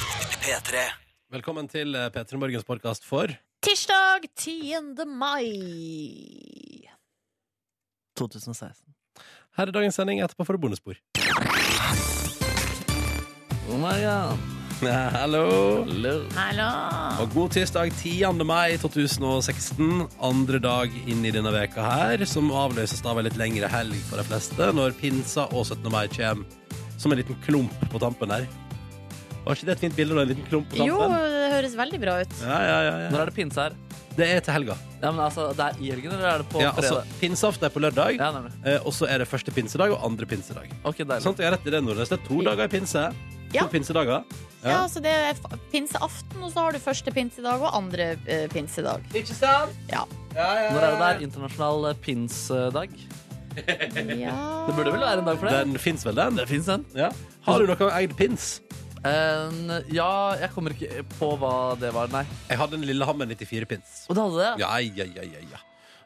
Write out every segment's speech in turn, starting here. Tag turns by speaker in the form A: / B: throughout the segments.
A: P3.
B: Velkommen til eh, P3 Morgens podkast for
C: Tirsdag 10. mai.
D: 2016.
B: Her er dagens sending, etterpå får du bonusspor.
D: Oh my god.
B: Ja, Hallo!
C: Hallo.
B: Og god tirsdag 10. mai 2016. Andre dag inn i denne veka her, som avløses av en litt lengre helg for de fleste, når pinsa og 17. mai kommer som en liten klump på tampen her. Var ikke det et fint bilde, da? En liten klump på
C: Jo,
B: tampen?
C: det høres veldig bra ut.
B: Ja, ja, ja,
D: Når
B: ja.
D: er det pinse her?
B: Det er til helga.
D: Ja, men altså, Det er i helgen, eller er det på
B: Ja, altså,
D: fredag?
B: Pinseaften er på lørdag,
D: Ja, nemlig.
B: eh, og så er det første pinsedag og andre pinsedag.
D: Ok, deilig.
B: Sant, jeg har rett i det, Nordnes. Det er to dager i pinse. To
C: Ja.
B: pinsedager.
C: Ja, så Det er f- pinseaften, og så har du første pinsedag og andre eh, pinsedag.
B: Ikke sant?
C: Ja.
D: Når er det der? Internasjonal eh, pinsdag?
C: Ja.
D: Det burde vel være en dag for det?
B: Den fins vel, den?
D: Det fins en.
B: Ja. Har du noe eid pins?
D: En- ja, jeg kommer ikke på hva det var, nei.
B: Jeg hadde en Lillehammer 94-pins.
D: Og du hadde det?
B: Ja, ja, ja, ja, ja.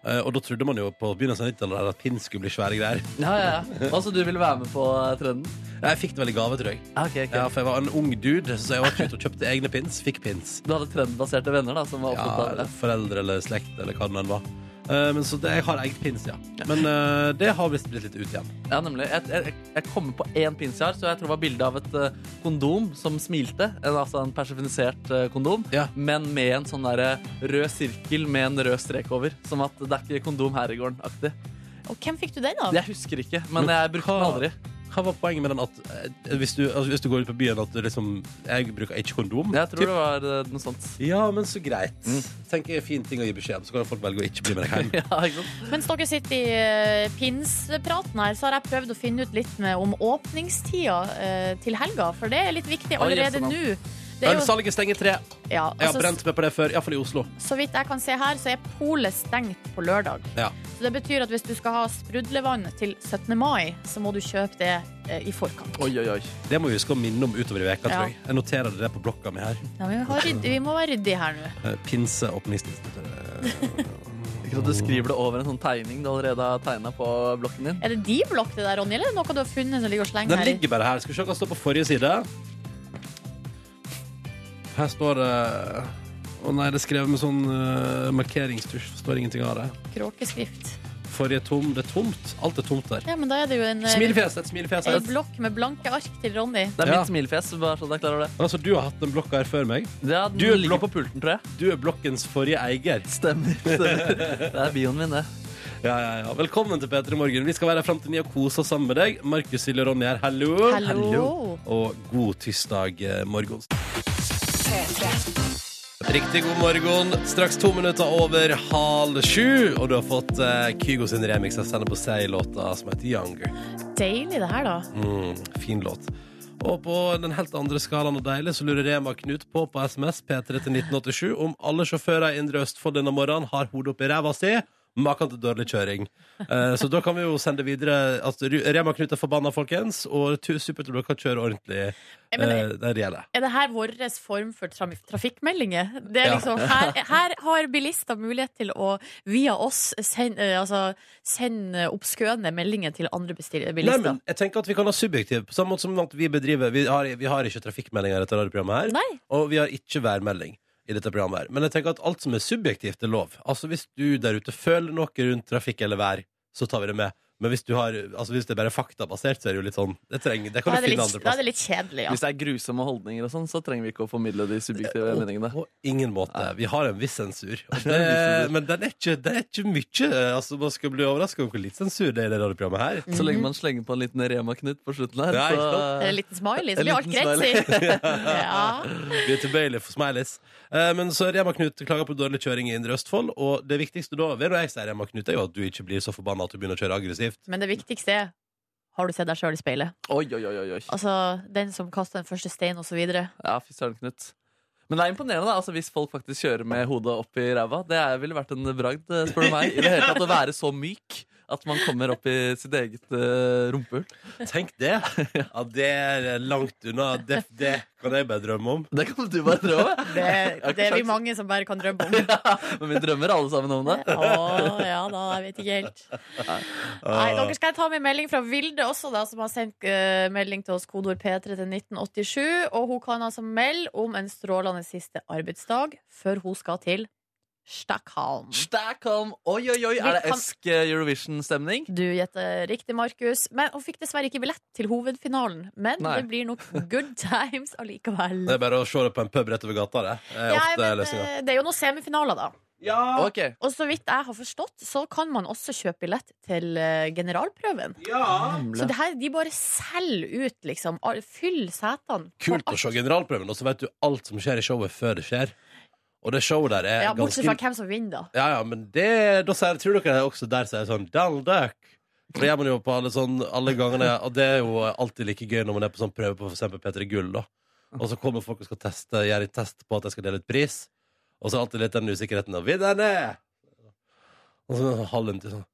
B: Eh, og da trodde man jo på begynnelsen av 90-tallet at pins skulle bli svære greier.
D: Ja, ja, ja. Altså, du ville være med på eh, trenden?
B: Jeg fikk det vel i gave, tror jeg.
D: Ja, ok, ok.
B: Ja, for jeg var en ung dude, så jeg var ikke ute og kjøpte egne pins. Fikk pins.
D: Du hadde trendbaserte venner da, som var
B: Ja,
D: opptatt av
B: eller
D: det?
B: foreldre eller slekt eller hva det nå enn var. Eh, men så det, jeg har eid pins, ja. Men eh, det har visst blitt litt ut igjen.
D: Ja, nemlig. Jeg, jeg, jeg kommer på én pins jeg har, så jeg tror det var bilde av et eh, kondom som smilte. En, altså en personifisert eh, kondom,
B: Ja.
D: men med en sånn derre rød sirkel med en rød strek over. Som at det er ikke kondom her i gården-aktig.
C: Og hvem fikk du den av?
D: Jeg husker ikke, men
B: Men
D: jeg brukte den
B: hva-
D: aldri.
B: Hva var poenget med den at eh, hvis, du, altså, hvis du går ut på byen at du liksom Jeg bruker ikke kondom.
D: Jeg tror det
B: typ.
D: var eh, noe sånt.
B: Ja, men så greit. Tenker jeg er fin ting å gi beskjed om, så kan folk velge å ikke bli med deg hjem.
D: Ja, ikke sant?
C: Mens dere sitter i eh, pinspraten her, så har jeg prøvd å finne ut litt med om åpningstida eh, til helga. For det er litt viktig
D: Oi,
C: allerede
D: sånn,
C: nå. Det er jo,
B: Ølsalget stenger tre.
C: ja,
B: Jeg har
C: altså,
B: brent meg på det før, iallfall i Oslo.
C: så vidt jeg kan se her, så er polet stengt på lørdag.
B: Ja.
C: Så det betyr at hvis du skal ha sprudlevann til 17. mai, så må du kjøpe det eh, i forkant.
D: Oi, oi, oi.
B: Det må vi huske å minne om utover i veka,
C: Ja.
B: tror jeg. Jeg noterer det på blokka mi her.
C: Ja, men vi, har rydd, vi må være ryddige her nå.
B: Eh, Pinse åpningstidspunktet.
D: Ikke sant, Du skriver det over en sånn tegning du allerede har tegna på blokken din.
C: Er det de blokk det der, Ronny, eller er det noe du har funnet som ligger og slenger
B: Den
C: her? i?
B: ligger bare her. Skal vi se hva som står på forrige side. Her står det Å nei, det er skrevet med sånn eh, markeringstusj. Forstår ingenting av det.
C: Kråkeskrift.
B: Forrige tom. Det er tomt. Alt er tomt der.
C: Ja, men da er det jo en, eh,
B: Smilefjes. Et smilefjes.
C: en
B: her.
C: blokk med blanke ark til Ronny.
D: Det er
B: Ja.
D: mitt smilefjes. bare så dere klarer det.
B: Altså, du har hatt den blokka her før meg.
D: Ja, den
B: Du er
D: ligger
B: blokk-
D: på pulten, tror jeg.
B: Du er blokkens forrige eier.
D: Stemmer. stemmer. Det er bioen min, det.
B: Ja, ja, ja. Velkommen til P3 Morgen. Vi skal være her fram til ni og kose oss sammen med deg. Markus, Silje og Ronny her, hallo.
C: Hallo.
B: Og god tirsdag eh, morgen. Riktig god morgen. Straks to minutter over halv sju. Og du har fått eh, Kygo sin remix av Sende på seg-låta som heter Younger.
C: Deilig det her, da.
B: Mm, fin låt. Og på den helt andre skalaen og deilig så lurer Rema Knut på på SMS P3 til 1987 om alle sjåfører i Indre Østfold denne morgenen har hodet oppi ræva si. Maken til dårlig kjøring. Eh, så da kan vi jo sende videre at Ru- Rema Knut er forbanna, folkens, og tu- supert om dere kan kjøre ordentlig.
C: Eh, men-
B: eh, det gjelder.
C: Er det her vår form for tra trafikkmeldinger? Det er
B: Ja.
C: liksom, her, her har bilister mulighet til å, via oss, sende, eh, altså, sende oppskøende meldinger til andre bestil-
B: Nei,
C: bilister.
B: men jeg tenker at vi kan ha subjektiv, på samme måte som at vi bedriver Vi har, vi har ikke trafikkmeldinger etter dette programmet her.
C: Nei.
B: Og vi har ikke værmelding i dette programmet her. Men jeg tenker at alt som er subjektivt, er lov. Altså Hvis du der ute føler noe rundt trafikk eller vær, så tar vi det med. Men hvis, du har, altså hvis det er bare faktabasert, så er det jo litt sånn Det, trenger, det kan
C: Da er
B: du
C: det
B: finne
C: litt,
B: andre
C: da
B: plasser.
C: er det litt kjedelig, ja.
D: Hvis det er grusomme holdninger, og sånn, så trenger vi ikke å formidle de subjektive meningene.
B: På ingen måte. Vi har en viss sensur. Og Det,
D: sensur.
B: men den er ikke, det er ikke mye. Altså, man skal bli overraska over hvor litt sensur det er i det radioprogrammet her.
C: Mm.
D: Så lenge man slenger på en liten Rema-knut på slutten her,
B: Ja, ikke
D: så
C: Det er en liten smiley, så
D: En
C: blir alt
D: liten
C: greit, si. Ja.
B: Vi er tilbøyelige for smileys. Eh, Men så Rema Knut klager på dårlig kjøring i Indre Østfold. Og det viktigste da ved når jeg sier Rema Knut, er jo at du ikke blir så forbanna at du begynner å kjøre aggressivt.
C: Men det viktigste er har du sett deg sjøl i speilet?
D: Oi, oi, oi, oi. oi.
C: Altså, Den som kasta den første steinen, osv.
D: Ja, fy søren, Knut. Men det er imponerende da, altså, hvis folk faktisk kjører med hodet opp i ræva. Det er- ville vært en bragd, eh, spør du meg, i det hele tatt å være så myk at man kommer opp i sitt eget eh, rumpehull.
B: Tenk det! Ja, det er langt unna. Det, det kan jeg bare drømme om.
D: Det kan du bare drømme.
C: Det,
D: har ikke
C: det er vi
D: sjans.
C: mange som bare kan drømme om.
D: Men vi drømmer alle sammen om det.
C: Å, ja da, jeg vet ikke helt. Nei,
D: Ah.
C: dere skal jeg ta med en melding fra Vilde også, da, som har sendt eh, melding til oss, kodord P3 til 1987. Og hun kan altså melde om en strålende siste arbeidsdag før hun skal til Stockholm.
D: Stockholm! Oi, oi, oi! Er det
C: kan-
D: esk eh, Eurovision-stemning?
C: Du gjetter riktig, Markus. Men Hun fikk dessverre ikke billett til hovedfinalen. Men
D: Nei.
C: det blir nok good times allikevel.
B: Det er bare å se det på en pub rett over gata. Det er
C: Ja,
B: ofte
C: men,
B: løsninga.
C: eh, det er jo noen semifinaler, da.
D: Ok.
C: Og så vidt jeg har forstått, så kan man også kjøpe billett til eh, generalprøven. Så det her, de bare selger ut, liksom. Al- Fyll setene. på
B: Kult å
C: alt.
B: se generalprøven, og så vet du alt som skjer i showet, før det skjer. Og det showet der er
C: Ja, bortsett fra
B: ganske
C: hvem som vinner, da.
B: Ja, ja, men det da sier, Tror dere også der sier sånn Dal duck. For det gjør man jo på alle, sånn, alle gangene, og det er jo alltid like gøy når man er på sånn prøve på for eksempel P3 Gull, da. Og så kommer folk og skal teste, gjøre en test på at jeg skal dele ut pris, og så er alltid litt den usikkerheten av vinnerne! Og så halv til sånn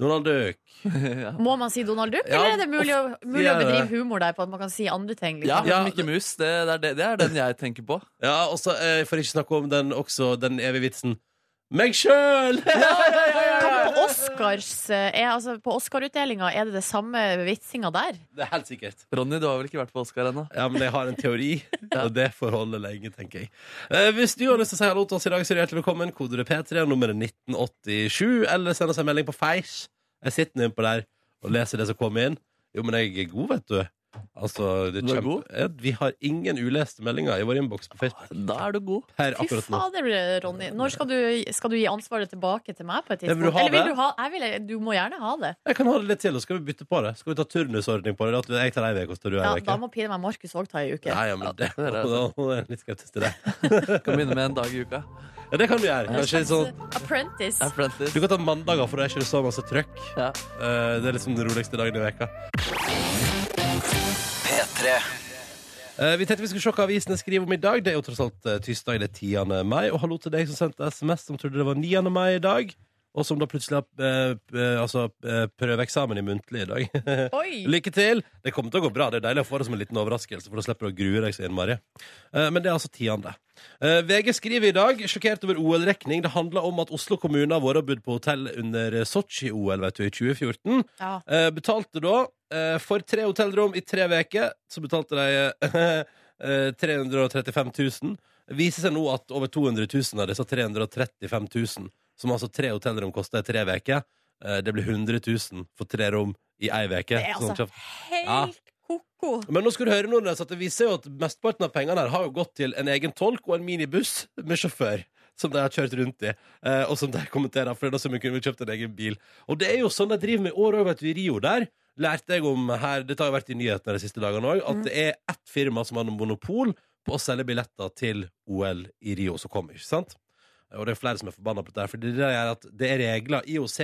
B: Donald Duck.
D: Ja.
C: Må man si Donald Duck,
B: Ja,
C: eller er det mulig å, mulig å
B: er det
C: bedrive
B: det.
C: humor der på at man kan si andre ting?
D: Ja,
C: Liksom?
B: Ja.
D: Mikke Mus. Det, det, er det, det er den jeg tenker på.
B: Ja, og så eh, får jeg ikke snakke om den også, den evige vitsen Meg sjøl!
C: Kan på Oscars eh, er, altså, På Oscar-utdelinga er det det samme vitsinga der?
B: Det er helt sikkert.
D: Ronny, du har vel ikke vært på Oscar ennå?
B: Ja, men jeg har en teori, og det får holde lenge, tenker jeg. Eh, hvis du har lyst til å si hallo til oss i dag, så er du hjertelig velkommen. Kodet P3, nummeret 1987, eller send oss en melding på Face. Jeg sitter innpå der og leser det som kommer inn. Jo, men jeg er god, vet du. Altså, det
D: Du er
B: kjempe-
D: god?
B: Ja, Vi har ingen uleste meldinger i vår innboks på Facebook
D: Da er du god.
B: per
C: Fy
B: akkurat nå.
C: fader, Ronny. Når skal du, skal du gi ansvaret tilbake til meg på et
B: Ja,
C: tidspunkt?
B: vil du ha det?
C: Eller vil du ha jeg vil, Du må gjerne ha det.
B: Jeg kan ha det litt til, og så skal vi bytte på det. Skal vi ta turnusordning på det? At jeg tar ei uke, og så tar du ei
C: Ja,
B: uke?
C: da må pine meg Markus òg ta ei uke.
B: Nei, ja, men
D: det
B: det,
D: er det.
B: da må jeg litt skeptisk til det.
D: Kan begynne med en dag i uka.
B: Ja, det kan du gjøre.
C: En
B: Kanskje
C: slags,
B: sånn
C: eh, Apprentice.
B: du
D: Apprentice.
B: kan ta mandager, for da er ikke det så masse trøkk.
D: Ja.
B: Eh, det er liksom den roligste dagen i veka. Eh, vi tenkte vi skulle se hva avisene skriver om i dag. Det er jo tross alt eh, tirsdag, det er 10. mai. Og hallo til deg som sendte SMS som trodde det var 9. mai i dag, og som da plutselig har eh, eh, altså, eh, prøveeksamen i muntlig i dag.
C: Oi!
B: Lykke til! Det kommer til å gå bra. Det er deilig å få det som en liten overraskelse, for da slipper du å grue deg så innmari. Eh, Men det er altså tiende. Eh, VG skriver i dag, sjokkert over OL-rekning, det handler om at Oslo kommune har vært og bodd på hotell under Sotsji-OL vet du, i 2014.
C: Ja.
B: Eh, Betalte da eh, for tre hotellrom i tre uker, så betalte de eh, eh, 335 000. Det viser seg nå at over 200 000 av disse 335 000, som altså tre hotellrom koster i tre uker, eh, det blir 100 000 for tre rom i ei uke.
C: Det er
B: Sånn
C: altså
B: kjapt.
C: helt ko-ko.
B: Men nå skal du høre Nordnes, at det viser jo at mesteparten av pengene her har jo gått til en egen tolk og en minibuss med sjåfør. Som de har kjørt rundt i, eh, og som de kommenterer. For det er da som vi kunne kjøpt en egen bil. Og det er jo sånn de driver med i år òg, vet du, i Rio der. Lærte jeg om her, dette har jo vært i nyhetene de siste dagene òg, at det er ett firma som har noe monopol på å selge billetter til OL i Rio som kommer, ikke sant? Og det er flere som er forbanna på dette, her, for det er at det er regler IOC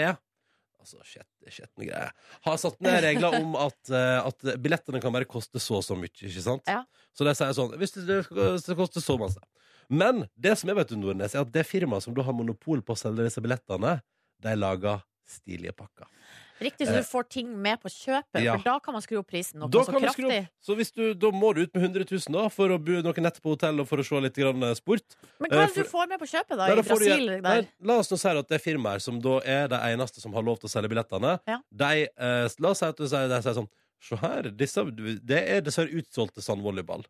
B: Altså, shit, det er skjetne greier. Har satt ned regler om at, eh, at billettene kan bare koste så og så mye, ikke sant?
C: Ja.
B: Så de sier sånn Hvis det, det skal koste så masse. Men det som jeg vet, Nordnes, er at det firmaet som da har monopol på å selge disse billettene, de lager stilige pakker.
C: Riktig, så du får ting med på kjøpet,
B: Eh. Ja.
C: for da kan man skru opp prisen noe
B: Da
C: så
B: kan du skru
C: kraftig.
B: opp. Så hvis du, da må du ut med 100 000 da, for å bo noen netter på hotell og for å se litt grann eh, sport.
C: Men hva
B: Eh,
C: er det du får med på kjøpet, da?
B: Nei,
C: I
B: da får du-
C: Brasil?
B: Nei, altså,
C: Der?
B: la oss nå si at det firmaet her som da er de eneste som har lov til å selge billettene,
C: Ja.
B: de, eh, la oss si at du sier, de sier sånn Se her, disse, det er dessverre utsolgte sandvolleyball.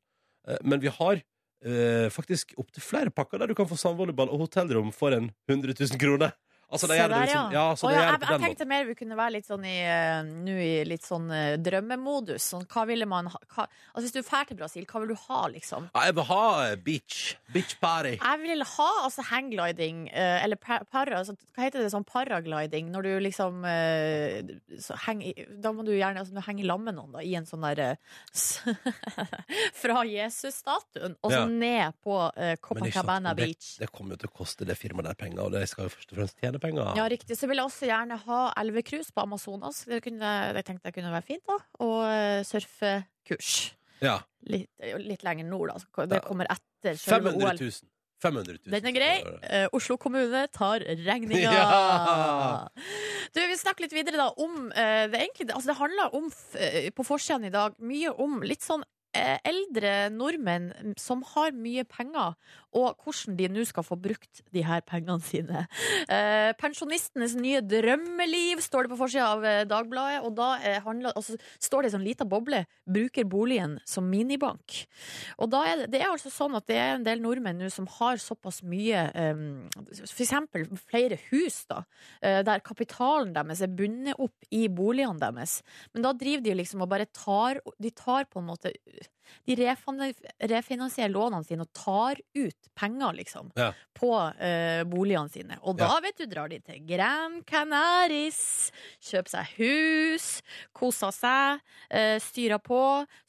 B: Eh, men vi har eh, faktisk opptil flere pakker der du kan få sandvolleyball og hotellrom for en 100 000 kroner. Altså, de
C: Se
B: gjør det
C: der,
B: liksom, ja, så
C: Å,
B: de
C: ja,
B: gjør
C: jeg,
B: det på
C: jeg
B: den måten.
C: tenkte mer vi kunne være litt sånn i, eh, nå i litt sånn eh, drømmemodus. Sånn, hva ville man ha hva, Altså Hvis du drar til Brasil, hva vil du ha, liksom?
B: Ja, jeg vil ha eh, beach. Beach party.
C: Jeg vil ha altså hanggliding, eh, eller pa- para, altså, hva heter det, sånn paragliding, når du liksom eh, så heng, i- Da må du gjerne altså, du henger sammen med noen, da, i en sånn derre Fra Jesus-statuen, og så
B: Ja.
C: ned på eh,
B: Men det er ikke sant,
C: Copacabana
B: men det,
C: Beach.
B: Det kommer jo til å koste det firmaet der penger, og de skal jo først og fremst tjene penger.
C: Ja, riktig. Så vil jeg også gjerne ha elvecruise på Amazonas. Det, kunne, det tenkte jeg kunne være fint, da. Og eh, surfekurs.
B: Ja,
C: Litt, litt lenger nord, da. Så Det kommer etter selve
B: 500
C: OL.
B: 000. 500 000.
C: Den er grei. Eh, Oslo kommune tar regninga.
B: Ja.
C: Du, vi snakker litt videre da om eh, det, er egentlig, altså det handler om, f- eh, på forsiden i dag, mye om litt sånn eh, eldre nordmenn som har mye penger, og hvordan de nå skal få brukt de her pengene sine. Eh, pensjonistenes nye drømmeliv står det på forsida av eh, Dagbladet, og da eh, handler, altså, står det i sånn lita boble 'Bruker boligen som minibank'. Og da er det, det er altså sånn at det er en del nordmenn nå som har såpass mye um, F.eks. flere hus, da, eh, der kapitalen deres er bundet opp i boligene deres. Men da driver de liksom og bare tar De tar på en måte De refin- refinansierer lånene sine og tar ut penger, liksom,
B: Ja.
C: på eh, boligene sine. Og da, vet du, drar de til Gran Canaris, kjøper seg hus, koser seg eh, styrer på.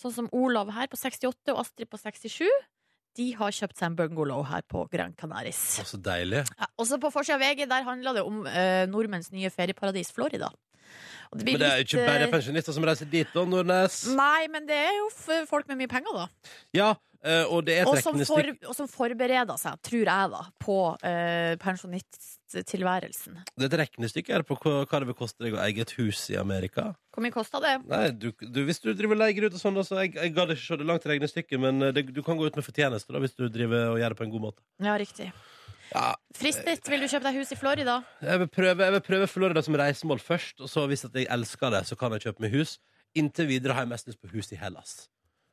C: Sånn som Olav her på 68 og Astrid på 67. De har kjøpt seg en bungalow her på Gran Canaris.
B: Å, Så deilig.
C: Ja, også på forsida av VG der handla det om eh, nordmenns nye ferieparadis Florida. Og blir
B: Men det er jo
C: litt,
B: ikke
C: eh,
B: bare pensjonister som reiser dit, da, Nordnes.
C: Nei, men det er jo f- folk med mye penger, da.
B: Ja, eh, og det er
C: Og som,
B: trekkende
C: for,
B: stikk.
C: og som forbereder seg, tror jeg, da, på eh, pensjonisttilværelsen.
B: Det er et regnestykke her på hva hva det vil koste deg å eie et hus i Amerika.
C: Hvor mye kosta det?
B: Nei, du, du, Hvis du driver og leier ut og sånn, da, så jeg, jeg gadd ikke se det langt regnestykket, men eh, det, du kan gå ut med fortjeneste da, hvis du driver og gjør det på en god måte.
C: Ja, riktig.
B: Ja,
C: Fristet, vil du kjøpe deg hus i Florida?
B: jeg vil prøve, jeg vil prøve Florida som reisemål først, og så hvis at jeg elsker det, så kan jeg kjøpe meg hus. Inntil videre har jeg mest lyst på hus i Hellas.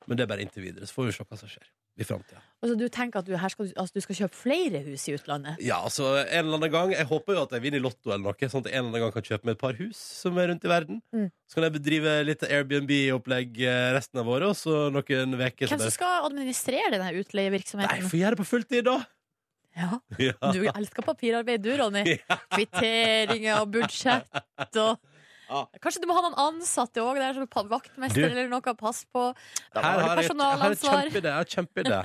B: Men det er bare inntil videre. Så får vi se hva som skjer i framtida.
C: Altså, du tenker at du, her skal, altså, du skal kjøpe flere hus i utlandet?
B: Ja, altså, en eller annen gang Jeg håper jo at jeg vinner i Lotto eller noe, sånn at jeg en eller annen gang kan kjøpe meg et par hus som er rundt i verden.
C: Mm.
B: Så kan jeg bedrive litt Airbnb-opplegg eh, resten av året, og så noen uker
C: Hvem som skal administrere denne
B: Nei,
C: utleievirksomheten?
B: få gjøre det på fulltid, da!
C: Ja,
B: Ja.
C: du elsker papirarbeid, du, Ronny. Kvitteringer og budsjett og
B: Ja.
C: Kanskje du må ha noen ansatte òg der, som pa- vaktmester
B: Du.
C: eller noe, pass på. Da
B: Her har
C: har du
B: jeg her er
C: personalansvar.
B: kjempeidé. jeg har kjempeidé.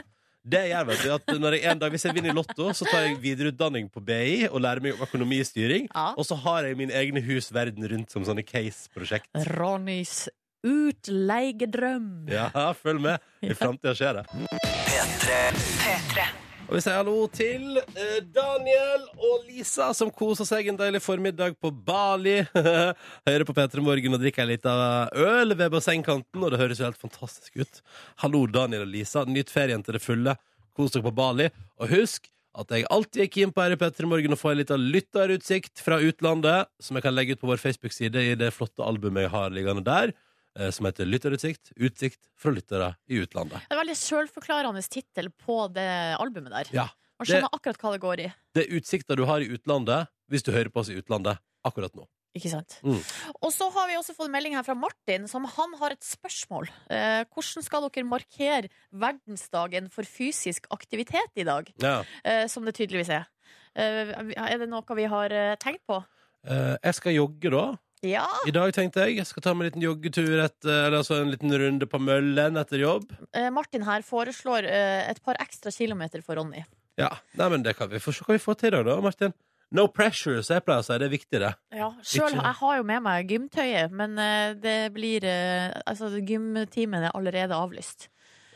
B: Det jeg gjør, vet du, at når jeg en dag, Hvis jeg vinner i Lotto, så tar jeg videreutdanning på BI og lærer meg om økonomistyring.
C: Ja.
B: Og så har jeg mine egne hus verden rundt som sånne case-prosjekt.
C: Ronnys utleiedrøm.
B: Ja, følg med. I framtida skjer det. Og vi sier hallo til eh, Daniel og Lisa, som koser seg en deilig formiddag på Bali. Hører på P3 Morgen og drikker en liten eh, øl ved bassengkanten, og det høres jo helt fantastisk ut. Hallo, Daniel og Lisa. Nyt ferien til det fulle. Kos dere på Bali. Og husk at jeg alltid er keen på her i P3 Morgen å få en liten lytterutsikt fra utlandet, som jeg kan legge ut på vår Facebook-side i det flotte albumet jeg har liggende der, eh, som heter Lytterutsikt. Utsikt fra lyttere i utlandet.
C: Det er en veldig sjølforklarende tittel på det albumet der.
B: Ja.
C: Man
B: det-
C: skjønner akkurat hva det går i.
B: Det er utsikter du har i utlandet hvis du hører på oss i utlandet akkurat nå.
C: Ikke sant?
B: Mm.
C: Og så har vi også fått en melding her fra Martin, som han har et spørsmål. Eh, hvordan skal dere markere verdensdagen for fysisk aktivitet i dag?
B: Ja.
C: Eh, som det tydeligvis er. Eh, er det noe vi har eh, tenkt på?
B: Eh, jeg skal jogge, da.
C: Ja,
B: I dag tenkte jeg jeg skal ta meg en liten joggetur etter, eller altså en liten runde på møllen etter jobb.
C: eh, Martin her foreslår eh, et par ekstra kilometer for Ronny.
B: Ja, Nei, men det kan vi få se hva vi får til i dag, da, Martin. No pressure, som jeg pleier å si. Det er viktig, det.
C: Ja, selv,
B: Ikke-
C: Jeg har jo med meg gymtøyet, men eh, det blir eh, Altså, gymtimen er allerede avlyst.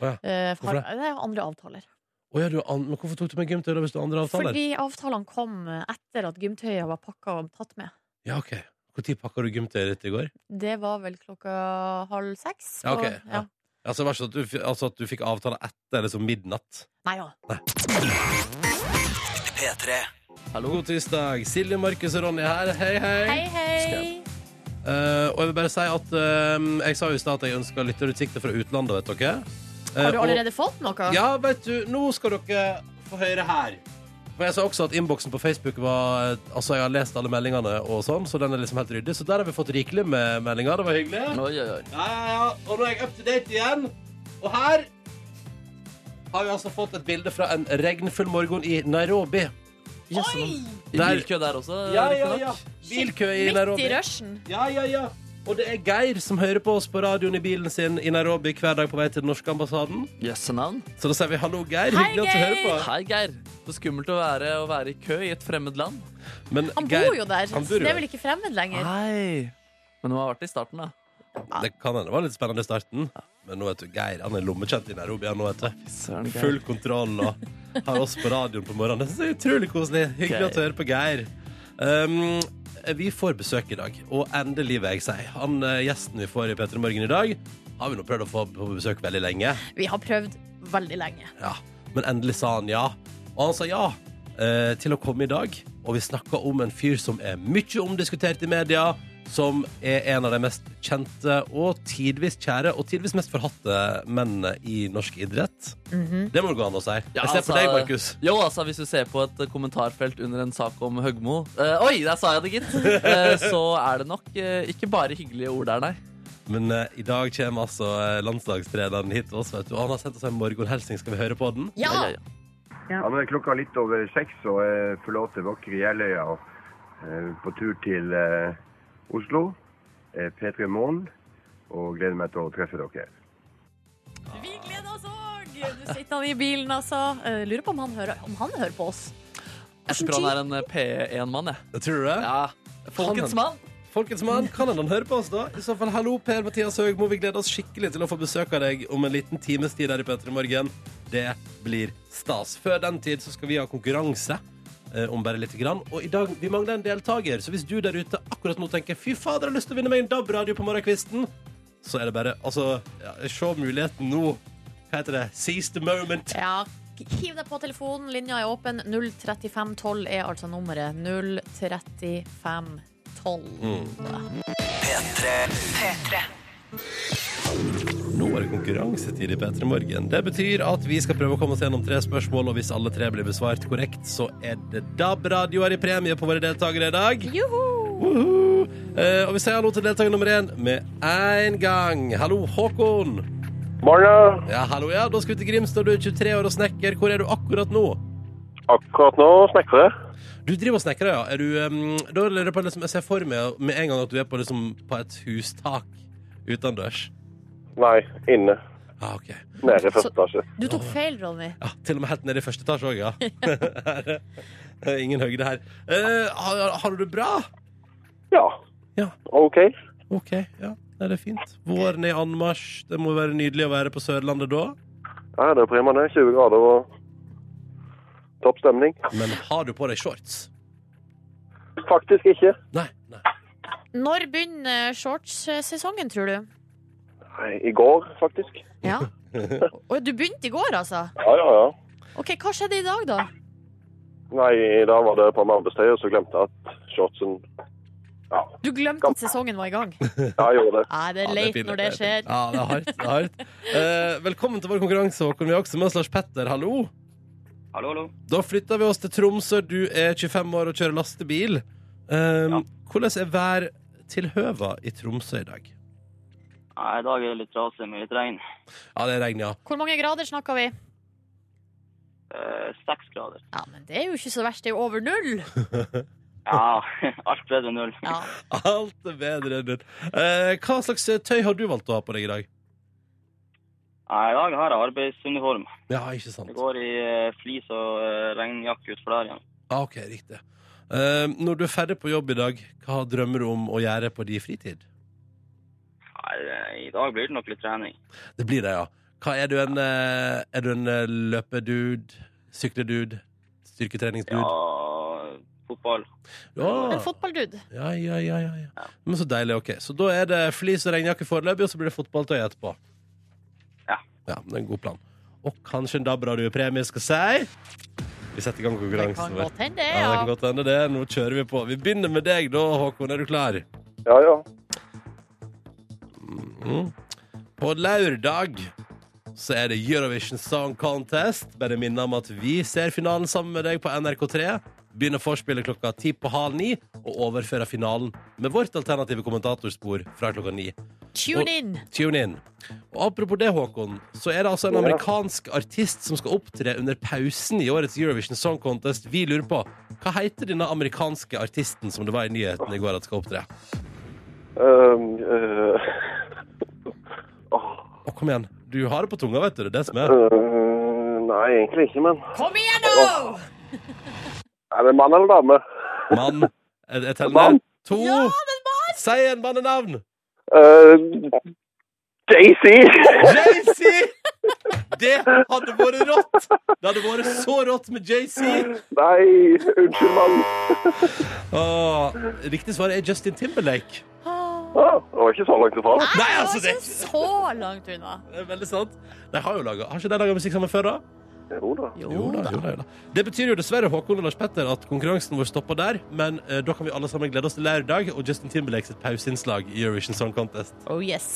B: Å ja.
C: Eh, for-
B: Hvorfor det?
C: det er andre avtaler.
B: Å, ja, du, har an men hvorfor tok du med gymtøy da hvis du har andre avtaler?
C: Fordi avtalene kom eh, etter at gymtøyet var pakka og tatt med.
B: Ja, ok. Når pakka du gymtøyet ditt i går?
C: Det var vel klokka halv seks.
B: Ja, ok,
C: på-
B: ja. Altså, det var ikke at du, f- altså at du fikk avtale etter liksom midnatt?
C: Nei ja.
D: Hallo.
B: God tirsdag. Silje, Markus og Ronny her. Hei, hei.
C: Hei, hei!
B: Eh, og jeg vil bare si at eh, Jeg sa jo i stad at jeg ønska lytterutsikter fra utlandet, vet dere. Eh,
C: Har du
B: og-
C: allerede fått noe?
B: Ja, vet du, nå skal dere få høre her. For jeg sa også at innboksen på Facebook var eh, Altså, jeg har lest alle meldingene og sånn, så den er liksom helt ryddig. Så der har vi fått rikelig med meldinger. Det var hyggelig.
D: Oi, oi, oi.
B: Ja, ja, ja. Og nå er jeg up to date igjen. Og her har vi altså fått et bilde fra en regnfull morgen i Nairobi.
D: Yes,
C: Oi!
D: I
B: Der-
D: bilkø der også,
B: Ja, ja,
D: riktignok.
B: ja. Bilkø i Nairobi.
C: Midt i rushen.
B: Ja, ja, ja. Og det er Geir som hører på oss på radioen i bilen sin i Nairobi hver dag på vei til den norske ambassaden.
D: Jøsse navn.
B: Så da sier vi hallo, Geir.
C: Hei,
B: Hyggelig at du
C: Geir!
B: hører på.
D: Hei, Geir. Så skummelt å være, å være i kø i et fremmed land.
B: Men
C: Han
B: Geir-
C: bor jo der.
B: Han
C: så
B: bor jo
C: det er
B: der.
C: vel ikke fremmed lenger.
D: Nei. Men hun har vært i starten, da.
B: Det kan hende det var litt spennende i starten. Men nå vet du, Geir han er lommekjent i Nairobi. Han, nå vet du.
D: Søren, Geir.
B: Full kontroll og har oss på radioen på morgenen. Det synes jeg er utrolig koselig. Hyggelig å høre på Geir. Um, vi får besøk i dag, og endelig, vil jeg si. Han eh, gjesten vi får i P3 Morgen i dag, har vi nå prøvd å få på besøk veldig lenge.
C: Vi har prøvd veldig lenge.
B: Ja. Men endelig sa han ja. Og han sa ja eh, til å komme i dag. Og vi snakka om en fyr som er mye omdiskutert i media. Som er en av de mest kjente og tidvis kjære og tidvis mest forhatte mennene i norsk idrett. Det må det gå an å si. Jeg ser
D: altså-
B: på deg, Markus.
D: Jo, altså, hvis du ser på et kommentarfelt under en sak om Høgmo eh, Oi, der sa jeg det, gitt! Eh, så er det nok eh, ikke bare hyggelige ord der, nei.
B: Men eh, i dag kommer altså eh, landslagstreneren hit til oss. Vet du. Og Han har sendt oss en morgenhilsing. Skal vi høre på den?
C: Ja!
D: Ja, ja, ja.
A: Ja, nå er klokka litt over seks, og jeg forlater vakre Jeløya og eh, på tur til eh, Oslo. Eh, P3 Morgen. Og gleder meg til å treffe dere.
C: Vi gleder oss òg! Nå sitter han i bilen, altså. Eh, Lurer på om han hører, om han hører på oss.
D: Jeg
B: sånn
D: tror han er en eh, P1-mann, jeg.
B: Tror du det?
D: Ja. Folkets mann.
B: Folkets mann, kan han høre på oss da? I så fall, hallo Per Mathias Høgmo, vi gleder oss skikkelig til å få besøk av deg om en liten times tid her i Petter i morgen. Det blir stas. Før den tid så skal vi ha konkurranse eh, om bare lite grann. Og i dag, vi mangler en deltaker, så hvis du der ute akkurat nå tenker fy fader, jeg har lyst til å vinne meg en DAB-radio på morgenkvisten, så er det bare, altså, ja, se muligheten nå. Hva heter det? Seize the moment.
C: Ja, hiv deg på telefonen. Linja er åpen. 03512 er altså nummeret. 03512.
B: Mm. Nå er det konkurransetid i P3 Morgen. Det betyr at vi skal prøve å komme oss gjennom tre spørsmål, og hvis alle tre blir besvart korrekt, så er det DAB-radioer i premie på våre deltakere i dag.
C: Joho!
B: Woohoo! Eh, og vi sier hallo til deltaker nummer én med en gang. Hallo, Håkon.
E: Morgen.
B: Ja, hallo, ja. Da skal vi til Grimstad. Du er 23 år og snekker. Hvor er du akkurat nå?
E: Akkurat nå snekrer jeg.
B: Du driver og snekrer, ja. Er du, em, da lurer jeg på, liksom, jeg ser for meg med en gang at du er på, liksom, på et hustak utendørs.
E: Nei, inne.
B: Ah, ok.
E: Nede i
C: Så-
E: første etasje.
C: Du tok feil, Ronny.
B: Ja, til og med helt nede i første etasje òg, ja. Her, eh, Ingen høyde her. Eh, har, har du det bra?
E: Ja.
B: Ja.
E: OK.
B: OK, ja. Nei, det er fint. Våren er i anmarsj. Det må være nydelig å være på Sørlandet da.
E: Ja, det er prima, det. 20 grader og topp stemning.
B: Men har du på deg shorts?
E: Faktisk ikke.
B: Nei. nei.
C: Når begynner shorts-sesongen, tror du?
E: Nei, I går, faktisk.
C: Ja. Og du begynte i går, altså?
E: Ja, ja, ja.
C: Ok, Hva skjedde i dag, da?
E: Nei, da var det på med arbeidstøy, og så glemte jeg at shortsen Ja,
C: Du glemte at sesongen var i gang.
E: jeg gjorde det.
C: Nei, det er leit
B: pinlig,
C: når det skjer.
B: Ja, det er hardt. Det er hardt. Eh, velkommen til vår konkurranse, Håkon. Vi har også med oss Lars Petter. Hallo.
F: Hallo, hallo.
B: Da flytter vi oss til Tromsø. Du er 25 år og kjører lastebil. Eh, Hvordan er værtilhøva i Tromsø i dag?
F: Nei, I dag er det litt trasig med litt regn.
B: Ja, det er regn, ja.
C: Hvor mange grader snakker vi?
F: Eh, Seks grader.
C: Ja, men Det er jo ikke så verst. Det er jo over null.
F: Ja, alt bedre enn null.
C: Ja.
B: Alt er bedre enn ditt. Eh, hva slags tøy har du valgt å ha på deg i dag?
F: Nei, I dag har jeg arbeidsuniform.
B: Ja, ikke sant?
F: Det går i eh, flis og eh, regnjakke utfor der igjen.
B: Ah, ok, riktig. Eh, når du er ferdig på jobb i dag, hva drømmer du om å gjøre på din fritid?
F: Nei, eh, i dag blir det nok litt trening.
B: Det blir det, ja. Hva er du en, eh, er du en eh, løpedude? Sykledude? Styrketreningsdude?
F: Ja, fotball.
B: Ja.
C: En fotballdude.
B: ja, ja, ja, ja, ja. Men så deilig, ok. Så da er det flis og regnjakke foreløpig, og så blir det fotballtøy etterpå.
F: Ja.
B: Ja, det er en god plan. Og kanskje en DAB-radiopremie skal si. Vi setter i gang
C: Det
B: konkurransen
C: kan
B: vår.
C: godt hende,
B: Ja, det kan
C: ja.
B: godt hende det. Nå kjører vi på. Vi begynner med deg da, Håkon. Er du klar?
E: Ja, ja.
B: Mhm. På lørdag så er det Eurovision Song Contest. Bare minne om at vi ser finalen sammen med deg på NRK3. Begynner forspillet klokka ti på halv ni og overfører finalen med vårt alternative kommentatorspor fra klokka ni.
C: Tune in.
B: Tune in. Og apropos det, Håkon, så er det altså en amerikansk artist som skal opptre under pausen i årets Eurovision Song Contest. Vi lurer på hva heter denne amerikanske artisten som det var i nyhetene i går at skal opptre?
E: Um, eh, åh,
B: Å, kom igjen. Du har det på tunga, vet du. Det er det som er.
E: eh, nei, egentlig ikke, men
C: Kom igjen, nå!
E: Er det mann eller dame?
B: Mann. Jeg, jeg teller
E: Mann?
B: ned. To. Si en mannenavn.
E: Uh, Øh, Daisy!
B: Jay-Z! Det hadde vært rått! Det hadde vært så rått med JC.
E: Nei, unnskyld, mann.
B: Åh, Riktig svar er Justin Timberlake.
C: Ah,
E: Ah, det var ikke så langt ifra. da.
B: Nei,
C: det
B: altså,
C: var
B: det,
C: ikke så langt unna.
B: det er veldig sant. De har jo laget, har ikke de laga musikk sammen før, da?
E: Jo da.
B: Jo da, jo da, jo da. Det betyr jo dessverre Håkon og Lars Petter at konkurransen vår stopper der, men eh, da kan vi alle sammen glede oss til lørdag og Justin Timberlake sitt pauseinnslag i Eurovision Song Contest.
C: Oh yes.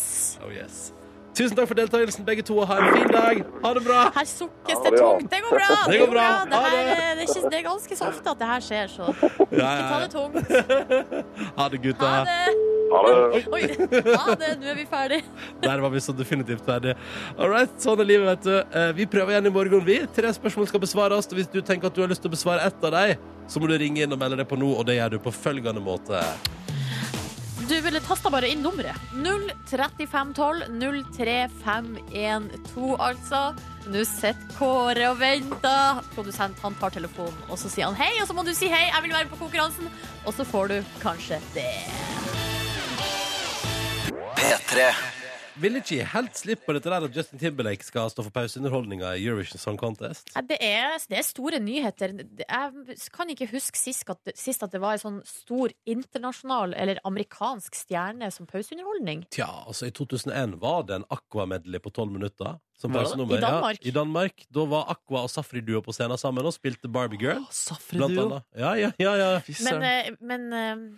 B: Oh yes. Tusen takk for deltakelsen, begge to, og ha en fin dag. Ha det bra.
C: Her sukkes
E: Ja,
C: det
E: det går.
C: tungt. Det går bra.
B: Det går bra.
C: Det, her,
B: Ha det.
C: eh, det, er ikke, det er ganske så ofte at det her skjer, så ikke
B: Ja,
C: ta
B: ja,
C: det
B: ja.
C: tungt.
B: Ha det, gutta.
C: Ha det.
E: Ha det.
C: Oi. Ha det. Nå er vi ferdig.
B: Der var vi så definitivt ferdig. All right, sånn er livet, vet du. Eh, Vi prøver igjen i morgen, vi. Tre spørsmål skal besvares, og hvis du tenker at du har lyst til å besvare ett av dem, så må du ringe inn og melde deg på nå, og det gjør du på følgende måte.
C: Du ville tasta bare inn nummeret. 03512 03512, altså. Nå sitter Kåre og venter. Produsent han tar telefonen, og så sier han hei. Og så må du si hei, jeg vil være med på konkurransen. Og så får du kanskje det.
B: Vil ikke helt slippe på dette der at Justin Timberlake skal stå for pauseunderholdninga i Eurovision Song Contest.
C: Nei, Det er, det er store nyheter. Jeg kan ikke huske sist at, sist at det var en sånn stor internasjonal eller amerikansk stjerne som pauseunderholdning.
B: Tja, altså i 2001 var det en Aqua-medley på 12 minutter. Som
D: Var det det?
B: pausenummer,
C: I Danmark?
B: Ja, I Danmark. Da var Aqua og Safri-duo på scenen sammen og spilte Barbie Girl. Blant
D: Safri-duo.
B: annet. Ja, ja, ja, ja.
D: Fy
C: Men,
D: søren.
C: eh, men eh,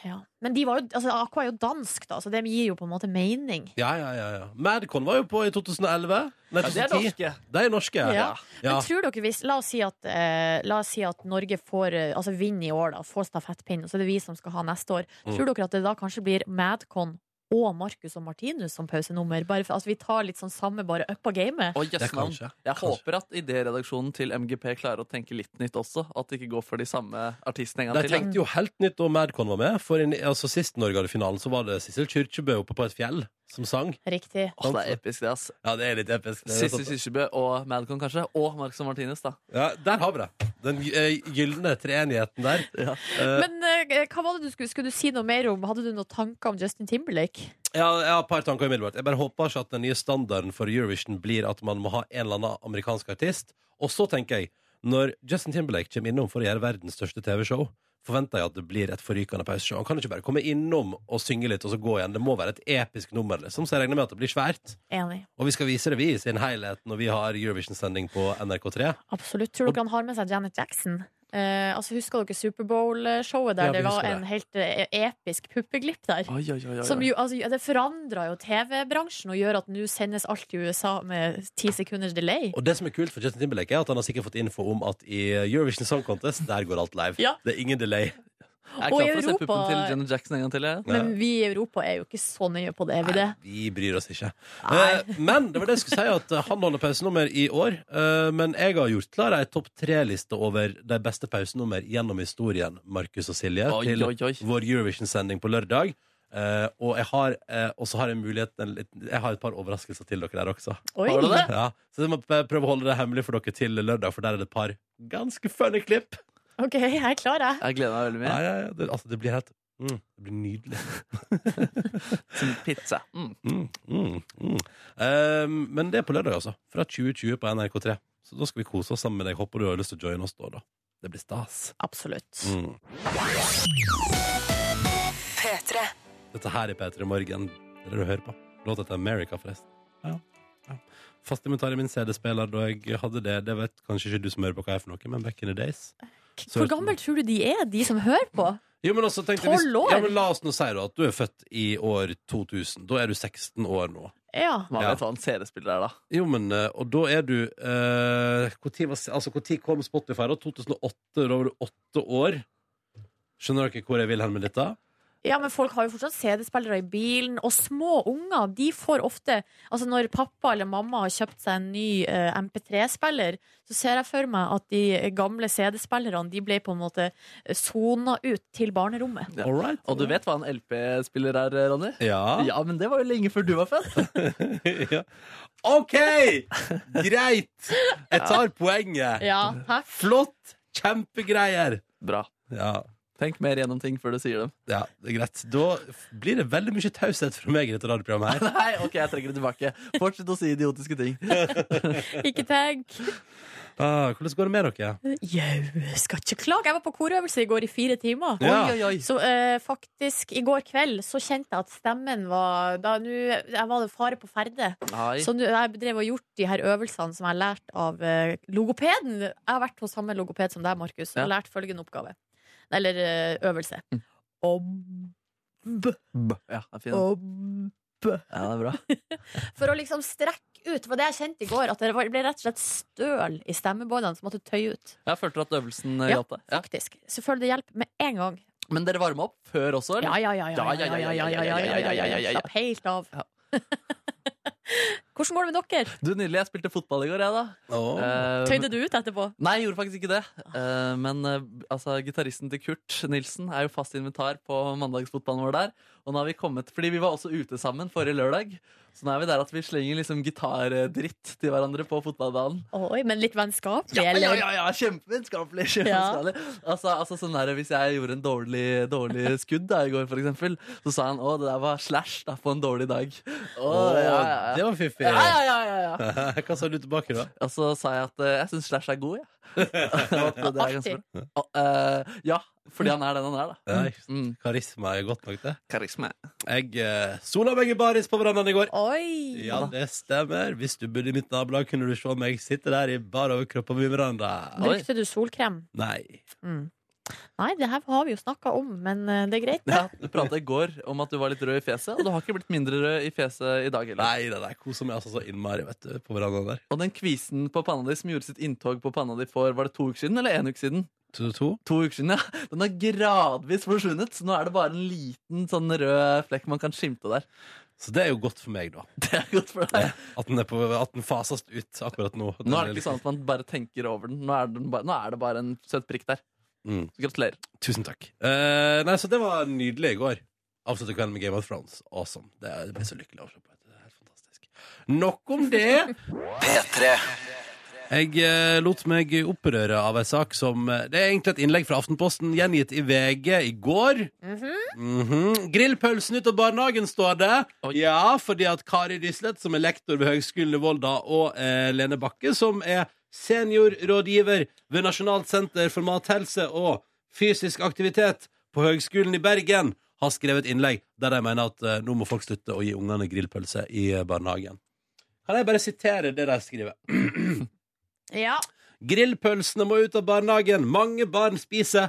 C: ja. Men de var jo, altså, Aqua er jo dansk, da, så det gir jo på en måte mening.
B: Ja, ja, ja, ja. Madcon var jo på i 2011.
D: Ja,
B: Nei,
D: det er
B: 2010.
D: norske.
B: De er norske.
C: Ja.
B: Ja.
C: Men tror dere hvis La oss si at, eh, la oss si at Norge får eh, altså vinner i år, da, får stafettpinnen, og så er det vi som skal ha neste år.
B: Mm.
C: Tror dere at det da kanskje blir Madcon og Marcus og Martinus som pausenummer? Bare for, altså, vi tar litt sånn samme, bare uppa gamet.
D: Å, jøss,
B: Det kan
D: navn.
B: skje.
D: Jeg
B: Kanskje.
D: håper at idéredaksjonen til MGP klarer å tenke litt nytt også. At det ikke går for de samme artistene en gang
B: De
D: til.
B: tenkte jo helt nytt da Madcon var med. For inn, altså, Sist Norge hadde finalen, så var det Sissel Kyrkjebø oppe på et fjell som sang.
C: Riktig.
D: Åh, det er episk, det, ass.
B: Ja, det er litt episk. Det er
D: Sissel
B: sånn- sant.
D: Kyrkjebø og Madcon, kanskje. Og Marcus og Martinez, da.
B: Ja, der har vi det. Den eh, gylne treenigheten der.
D: Ja.
B: Eh,
C: Men eh, hva var det du skulle, skulle du si noe mer om? Hadde du noen tanker om Justin Timberlake?
B: jeg, har, jeg har et par tanker umiddelbart. Jeg bare håper ikke at den nye standarden for Eurovision blir at man må ha en eller annen amerikansk artist. Og så tenker jeg, når Justin Timberlake kommer innom for å gjøre verdens største TV-show, forventer jeg at det blir et forrykende pauseshow. Han kan ikke bare komme innom og synge litt og så gå igjen. Det må være et episk nummer, liksom. Så jeg regner med at det blir svært.
C: Enig.
B: Og vi skal vise det, vi, i sin helhet når vi har Eurovision-sending på NRK3.
C: Absolutt. Tror dere han har med seg Janet Jackson? Eh, altså Husker dere Superbowl-showet der
B: Ja, vi
C: det var
B: husker det.
C: en helt eh, episk puppeglipp der?
D: Oi, oi, oi, oi.
C: Som jo, altså, det forandra jo TV-bransjen og gjør at nå sendes alt i USA med ti sekunders delay.
B: Og det som er kult for Justin Timberlake, er at han har sikkert fått info om at i Eurovision Song Contest, der går alt live.
C: Ja.
B: Det er ingen delay.
D: Jeg er klar
C: og i
D: for å se
C: Europa-
D: puppen til Janet Jackson en gang til. Jeg.
C: Men vi i Europa er jo ikke så nøye på det, er vi det?
B: Nei, vi bryr oss ikke.
C: Nei.
B: Eh, men det var det jeg skulle si, at eh, han holder pausenummer i år. Eh, men jeg har gjort klar ei topp tre-liste over de beste pausenummer gjennom historien, Markus og Silje,
D: Oi,
B: til
D: oi, oi.
B: vår Eurovision-sending på lørdag. Eh, og jeg har, eh, og så har jeg mulighet en liten- Jeg har et par overraskelser til dere der også.
C: Oi!
D: Har du det?
B: Ja, så jeg må p- prøve å holde det hemmelig for dere til lørdag, for der er det et par ganske funny klipp.
C: OK, jeg er klar, jeg.
D: jeg gleder meg veldig mye.
B: Ja, ja, ja, det, altså, det blir helt mm, Det blir nydelig.
D: Som pizza. Mm.
B: Mm, mm, mm. Ehm, men det er på lørdag, altså. Fra 2020 på NRK3. Så da skal vi kose oss sammen med deg. Håper du har lyst til å joine oss da. da. Det blir stas.
C: Absolutt.
B: Mm. Dette her er P3 Morgen. Det er det du hører på. Låta til America, forresten. Ja. ja. Fast inventar i min CD-spiller da jeg hadde det. Det vet kanskje ikke du som hører på hva jeg er for noe, men back in the days.
C: Hvor gammel tror du de er, de som hører på?
B: Jo, men også tenkte jeg, hvis-
C: 12 år?
B: Ja, men la oss nå si da at du er født i år 2000. Da er du 16 år nå.
C: Ja.
D: Man
B: Ja.
D: vet hva en CD-spiller er, da.
B: Jo, men, eh, og da er du eh, hvor tid var, Altså, når kom Spotify? da? 2008? Da var du åtte år. Skjønner dere hvor jeg vil hen med dette?
C: Ja, men folk har jo fortsatt CD-spillere i bilen, og små unger, de får ofte Altså når pappa eller mamma har kjøpt seg en ny eh, MP3-spiller, så ser jeg for meg at de gamle CD-spillerne, de ble på en måte sona ut til barnerommet.
D: Ja.
B: All right.
D: Og du vet hva en LP-spiller er, eh, Ronny?
B: Ja.
D: Ja, men det var jo lenge før du var født.
B: ja. OK! Greit! Jeg tar poenget.
C: Ja, hæ?
B: Flott! Kjempegreier.
D: Bra.
B: Ja.
D: Tenk mer gjennom ting før du sier dem.
B: Ja, det er greit. Da f- blir det veldig mye taushet fra meg i dette radioprogrammet her.
D: Nei, ok, jeg trekker det tilbake. Fortsett å si idiotiske ting.
C: Ikke tenk.
B: Ah, hvordan går det med dere?
C: Jau, skal ikke klage. Jeg var på korøvelse i går i fire timer.
B: Ja.
D: Oi, oi, oi.
C: Så eh, faktisk, i går kveld så kjente jeg at stemmen var da, nå, Jeg var det fare på ferde.
D: Ai.
C: Så nå- jeg drev og gjort de her øvelsene som jeg har lært av eh, logopeden. Jeg har vært hos samme logoped som deg, Markus, og
D: Ja.
C: lært følgende oppgave. Eller eh, øvelse. Ob...
D: B. Ja, det er fin.
C: Ob...
D: Ja, det er bra.
C: For å liksom strekke ut. For det jeg kjente i går, at det var- ble rett og slett støl i stemmebåndene som måtte tøye ut.
D: Jeg følte at øvelsen eh,
C: Ja.
D: hjalp deg. Ja.
C: Faktisk. Selvfølgelig det hjelper med en gang.
D: Men dere varma opp før også, eller?
C: Ja, ja, ja. ja, ja, ja, ja, ja, ja, ja, ja, ja, ja. Slapp helt av.
D: Ja.
C: Hvordan går det med dere?
D: Du, Nydelig. Jeg spilte fotball i går, jeg, da.
B: Åh.
D: Eh,
C: Tøyde du ut etterpå?
D: Nei, jeg gjorde faktisk ikke det. Eh, men eh, altså, gitaristen til Kurt Nilsen er jo fast inventar på mandagsfotballen vår der. Og nå har vi kommet, fordi vi var også ute sammen forrige lørdag. Så nå er vi der at vi slenger liksom gitardritt til hverandre på fotballbanen.
C: Oi, men litt vennskapelig,
D: Ja, ja,
C: eller?
D: ja, ja, kjempevennskapelig! kjempevennskapelig. Altså, altså, sånn der, hvis jeg gjorde en dårlig, dårlig skudd da, i går, for eksempel, så sa han å, det der var slash da, på en dårlig dag. Å,
B: Åh,
D: ja, ja, ja.
B: Det var fiffig.
D: Ja, ja, ja, ja, ja.
B: Hva sa du tilbake, da?
D: Og så sa jeg at eh, jeg syns Slash er god, jeg. At det er ganske
C: Artig.
D: bra. Og, eh, ja, fordi han er den han er, da.
B: Ja, ikke sant.
D: Mm.
B: Karisma er godt nok, det.
D: Karisme.
B: Jeg eh, sola meg i baris på verandaen i går.
C: Oi!
B: Ja, det stemmer. Hvis du bodde i mitt nabolag, kunne du se meg sitte der i bar overkropp på min veranda.
C: Brukte du solkrem?
B: Nei.
C: Mm. Nei, det her har vi jo snakka om, men eh, det er greit.
D: Ja, du prata i går om at du var litt rød i fjeset, og du har ikke blitt mindre rød i fjeset i dag heller.
B: Nei, nei, nei. Koser meg altså så innmari vet du, på verandaen der.
D: Og den kvisen på panna di som gjorde sitt inntog på panna di for var det to uker siden eller én uke siden?
B: To, to.
D: To uker siden, ja. Den har gradvis forsvunnet, så nå er det bare en liten sånn rød flekk man kan skimte der.
B: Så det er jo godt for meg, da.
D: Det er godt for deg.
B: At den, er på, at den fases ut akkurat nå.
D: Nå er det ikke sånn at man bare tenker over den. Nå er, den bare, nå er det bare en søt prikk der.
B: Mm.
D: Så gratulerer.
B: Tusen takk. Eh, nei, så det var nydelig i går. Avslutta kvelden med Game of Thrones. Awesome. Det, det ble så lykkelig avsluttet. Det er helt fantastisk. Nok om det. Jeg eh, lot meg opprøre av ei sak som eh, Det er egentlig et innlegg fra Aftenposten gjengitt i VG i går.
C: Mhm.
B: Mhm. Grillpølsen ut av barnehagen, står det.
D: Oi.
B: Ja, fordi at Kari Rislett, som er lektor ved Høgskolen i Volda, og eh, Lene Bakke, som er seniorrådgiver ved Nasjonalt senter for mathelse og fysisk aktivitet på Høgskolen i Bergen, har skrevet innlegg der de mener at eh, nå må folk slutte å gi ungene grillpølse i eh, barnehagen. Kan jeg bare sitere det de skriver?
C: Ja.
B: Grillpølsene må ut av barnehagen. Mange barn spiser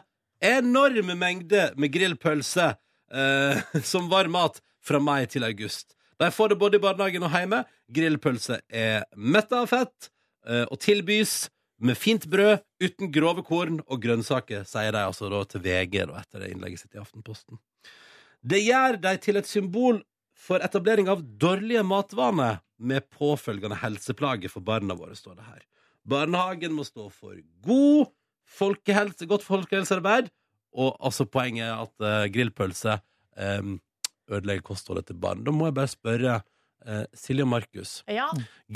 B: enorme mengder med grillpølse eh, som varm mat fra mai til august. De får det både i barnehagen og hjemme. Grillpølse er metta av fett eh, og tilbys med fint brød uten grove korn og grønnsaker, sier de altså da til VG da, etter det innlegget sitt i Aftenposten. Det gjør de til et symbol for etablering av dårlige matvaner med påfølgende helseplager for barna våre, står det her. Barnehagen må stå for god folkehelse, godt folkehelsearbeid. Og altså poenget er at eh, grillpølse eh, ødelegger kostholdet til barn. Da må jeg bare spørre eh, Silje og Markus.
C: ja.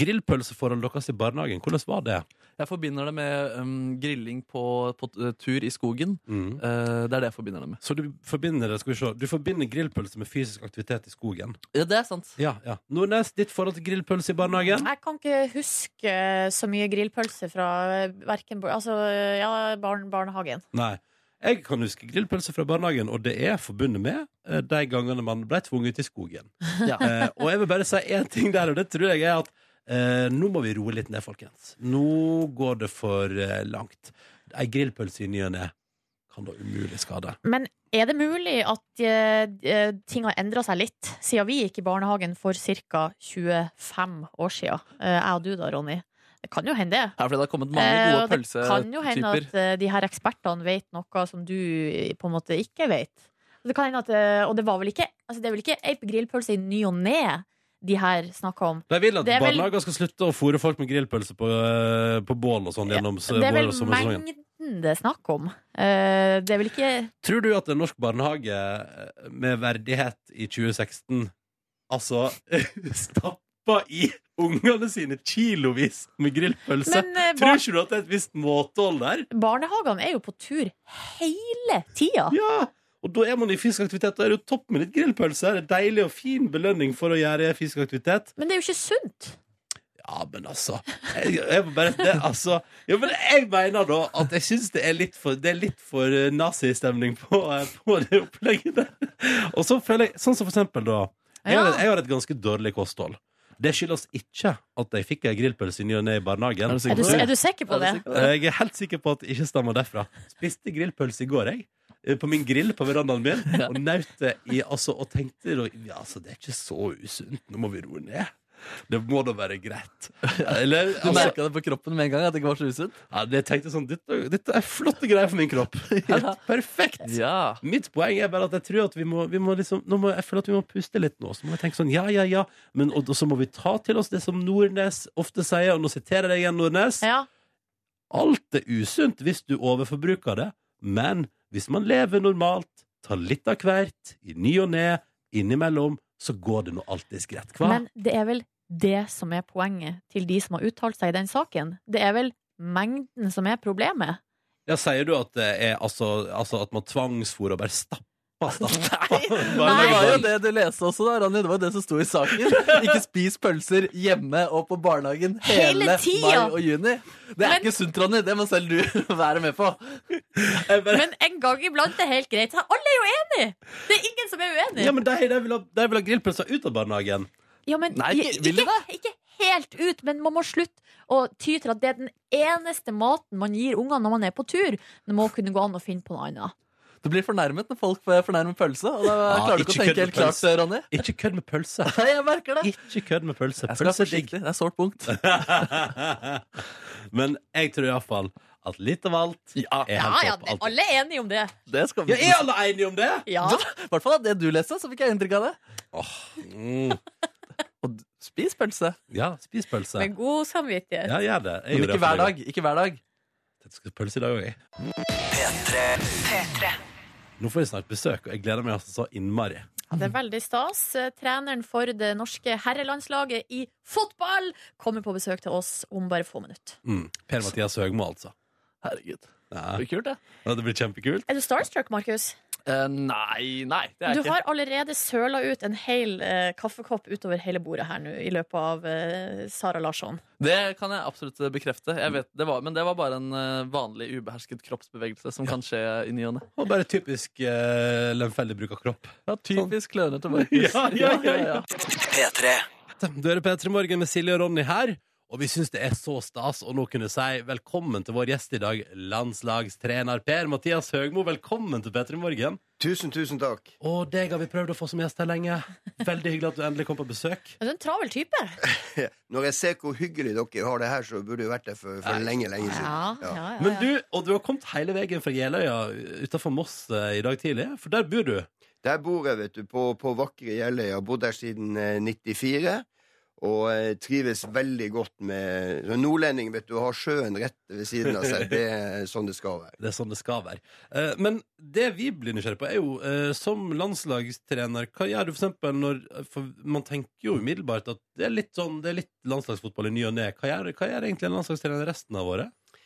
B: Grillpølseforholdet deres i barnehagen, hvordan var det?
D: Jeg forbinder det med um, grilling på, på t- tur i skogen.
B: Mm.
D: Eh, det er det jeg forbinder det med.
B: Så du forbinder det, skal vi se. Du forbinder grillpølse med fysisk aktivitet i skogen.
D: Ja, det er sant.
B: Ja, ja. Nordnes, ditt forhold til grillpølse i barnehagen?
C: Jeg kan ikke huske eh, så mye grillpølse fra verken altså, ja, barn, barnehagen.
B: Nei. Jeg kan huske grillpølse fra barnehagen, og det er forbundet med eh, de gangene man ble tvunget ut i skogen.
D: Ja.
B: Eh, og jeg vil bare si én ting der, og det tror jeg er at eh, nå må vi roe litt ned, folkens. Nå går det for eh, langt. Ei grillpølse i ny og ne kan da umulig skade.
C: Men er det mulig at eh, eh, ting har endra seg litt siden vi gikk i barnehagen for ca. 25 år siden? Eh, jeg og du da, Ronny. Det kan jo hende, det.
D: Ja, fordi det har kommet mange
C: Eh,
D: gode
C: og det kan jo hende
D: pølsetyper.
C: at eh, de her ekspertene vet noe som du eh, på en måte ikke vet. Og Det kan hende at, eh, og det, var vel ikke, altså det er vel ikke ei grillpølse i ny og ne de her snakker om.
B: De vil at
C: Det er vel-
B: barnehager skal slutte å fôre folk med grillpølse på, eh, på bål og sånn
C: Ja,
B: gjennom s-
C: Det er
B: vår-
C: vel
B: og sommersesongen.
C: mengden det er snakk om. Eh, Det er vel ikke
B: Tror du at en norsk barnehage eh, med verdighet i 2016 altså stapp proppa i ungene sine kilovis med grillpølse.
C: Men eh,
B: Tror
C: bar
B: ikke du at det er et visst måtehold der?
C: barnehagene er jo på tur hele tida.
B: Ja! Og da er man i fysisk aktivitet, da er det jo topp med litt grillpølse. Det er deilig og fin belønning for å gjøre fysisk aktivitet.
C: Men det er jo ikke sunt.
B: Ja, men altså Jeg, jeg må bare det, altså Jo, men jeg mener da at jeg syns det er litt for Det er litt for eh, nazistemning på, eh, på det opplegget der. Og så føler jeg Sånn som for eksempel, da. Jeg har,
C: Ja.
B: jeg har et ganske dårlig kosthold. Det skyldes ikke at jeg fikk ei grillpølse i ny og ne i barnehagen.
D: Er du
C: Er
D: sikker
C: du,
D: på det?
C: er du sikker på det?
D: Er du sikker på det?
B: Jeg er helt sikker på at det ikke stammer derfra. Spiste grillpølse i går, jeg. eh, På min grill på verandaen min. Og nøt det i altså, Og tenkte da ja, altså, det er ikke så usunt. Nå må vi roe ned. Det må da være greit. Eller
D: Du
B: altså,
D: merka det på kroppen med en gang? at det ikke var så usunt?
B: ja, det tenkte jeg sånn Dette, dette er flotte greier for min kropp. Helt perfekt.
D: Ja.
B: Mitt poeng er bare at jeg tror at vi må, vi må liksom nå må, Jeg føler at vi må puste litt nå. Så må jeg tenke sånn, ja, ja, ja. Men, og, og så må vi ta til oss det som Nordnes ofte sier, og nå siterer jeg igjen Nordnes.
C: Ja.
B: Alt er usunt hvis du overforbruker det, men hvis man lever normalt, tar litt av hvert, i ny og ne, innimellom, så går det nå alltids greit. Hva?
C: Men det er vel det som er poenget til de som har uttalt seg i den saken. Det er vel mengden som er problemet.
B: ja, sier du at det er altså, altså at man tvangsfôrer og bare stapper stapper?
D: Men det
C: Altså, Nei.
D: var jo det du leste også, da, Ronny. Det var jo det som sto i saken. Ikke spis pølser hjemme og på barnehagen hele,
C: Hele tida.
D: mai og juni. Det er
C: Men-
D: ikke sunt, Ronny. Det må selv du være med på.
B: Jeg bare-
C: Men en gang iblant er helt greit. Alle er jo enig! Det er ingen som er uenig.
B: Ja, men de, de, vil ha, de vil ha grillpølser ut av barnehagen.
C: Ja, men
D: Nei, ikke- vil
C: ikke, ikke helt ut, men man må slutte å ty til at det er den eneste maten man gir ungene når man er på tur. Det må kunne gå an å finne på noe annet.
D: Du blir fornærmet når folk får fornærmet pølse. Og da
B: Ah,
D: klarer du ikke å
B: ikke kødd
D: tenke
B: med
D: helt klart,
B: pølse.
D: Ronny.
B: Ikke kødd med pølse.
D: Nei, jeg merker det.
B: Ikke kødd med pølse.
D: Jeg skal være
B: Pølse er digg.
D: forsiktig. Det er et sårt punkt.
B: Men jeg tror iallfall at litt av alt
D: Ja,
B: er
C: Ja,
B: helt
C: ja,
B: topp. alltid.
C: alle er enige om det.
D: det skal
B: Ja,
D: vi.
B: er alle enige om det?
C: Ja.
D: I hvert fall av det du leste, så fikk jeg inntrykk av det.
B: Mm.
D: Og d- spis pølse.
B: Ja, spis pølse.
C: Med god samvittighet.
B: Ja, gjør det.
D: Men
B: Jeg gjorde
D: ikke
B: det for
D: hver dag. Ikke hver dag.
B: Jeg skal ha pølse i dag òg, jeg. Nå får jeg snart besøk, og jeg gleder meg altså så innmari.
C: Ja, Det er veldig stas. Eh, Treneren for det norske herrelandslaget i fotball kommer på besøk til oss om bare få minutter.
B: Mm. Per-Mathias Høgmo, altså.
D: Herregud. Det
B: Ja.
D: blir kult, det.
B: Det blir kjempekult.
C: Er du starstruck, Markus?
D: Eh, nei, nei. Det er
C: Du
D: jeg ikke.
C: har allerede søla ut en hel eh, kaffekopp utover hele bordet her nå i løpet av eh, Sara Larsson.
D: Det kan jeg absolutt bekrefte. Jeg vet, det var, men det var bare en eh, vanlig ubehersket kroppsbevegelse som kan skje i ny og ne.
B: Og bare typisk uh, lemfeldig bruk av kropp.
D: Ja, typisk klønete Markus.
B: Ja, ja, ja, ja.
G: P3.
B: Du hører P3 Morgen med Silje og Ronny her, og vi syns det er så stas å nå kunne si velkommen til vår gjest i dag, landslagstrener Per Mathias Høgmo. Velkommen til P3 Morgen.
H: Tusen, tusen takk.
B: Og deg har vi prøvd å få som gjest her lenge. Veldig hyggelig at du endelig kom på besøk.
C: Er du en travel type?
H: Når jeg ser hvor hyggelig dere har det her, så burde jeg vært der for, for lenge, lenge siden. Ja.
B: Men du, og du har kommet hele veien fra Jeløya utafor Moss eh, i dag tidlig, for der bor du.
H: Der bor jeg, vet du, på, på vakre Jeløya. Jeg har bodd der siden eh, 94. Og eh, trives veldig godt med som Nordlending, vet du, har sjøen rett ved siden av seg. Det er sånn det skal være.
B: Det er sånn det skal være. Eh, Men det vi blir nysgjerrig på, er jo eh, som landslagstrener Hva gjør du for eksempel når for Man tenker jo umiddelbart at det er litt sånn Det er litt landslagsfotball i ny og ne. Hva gjør, hva gjør egentlig en landslagstrener resten av året?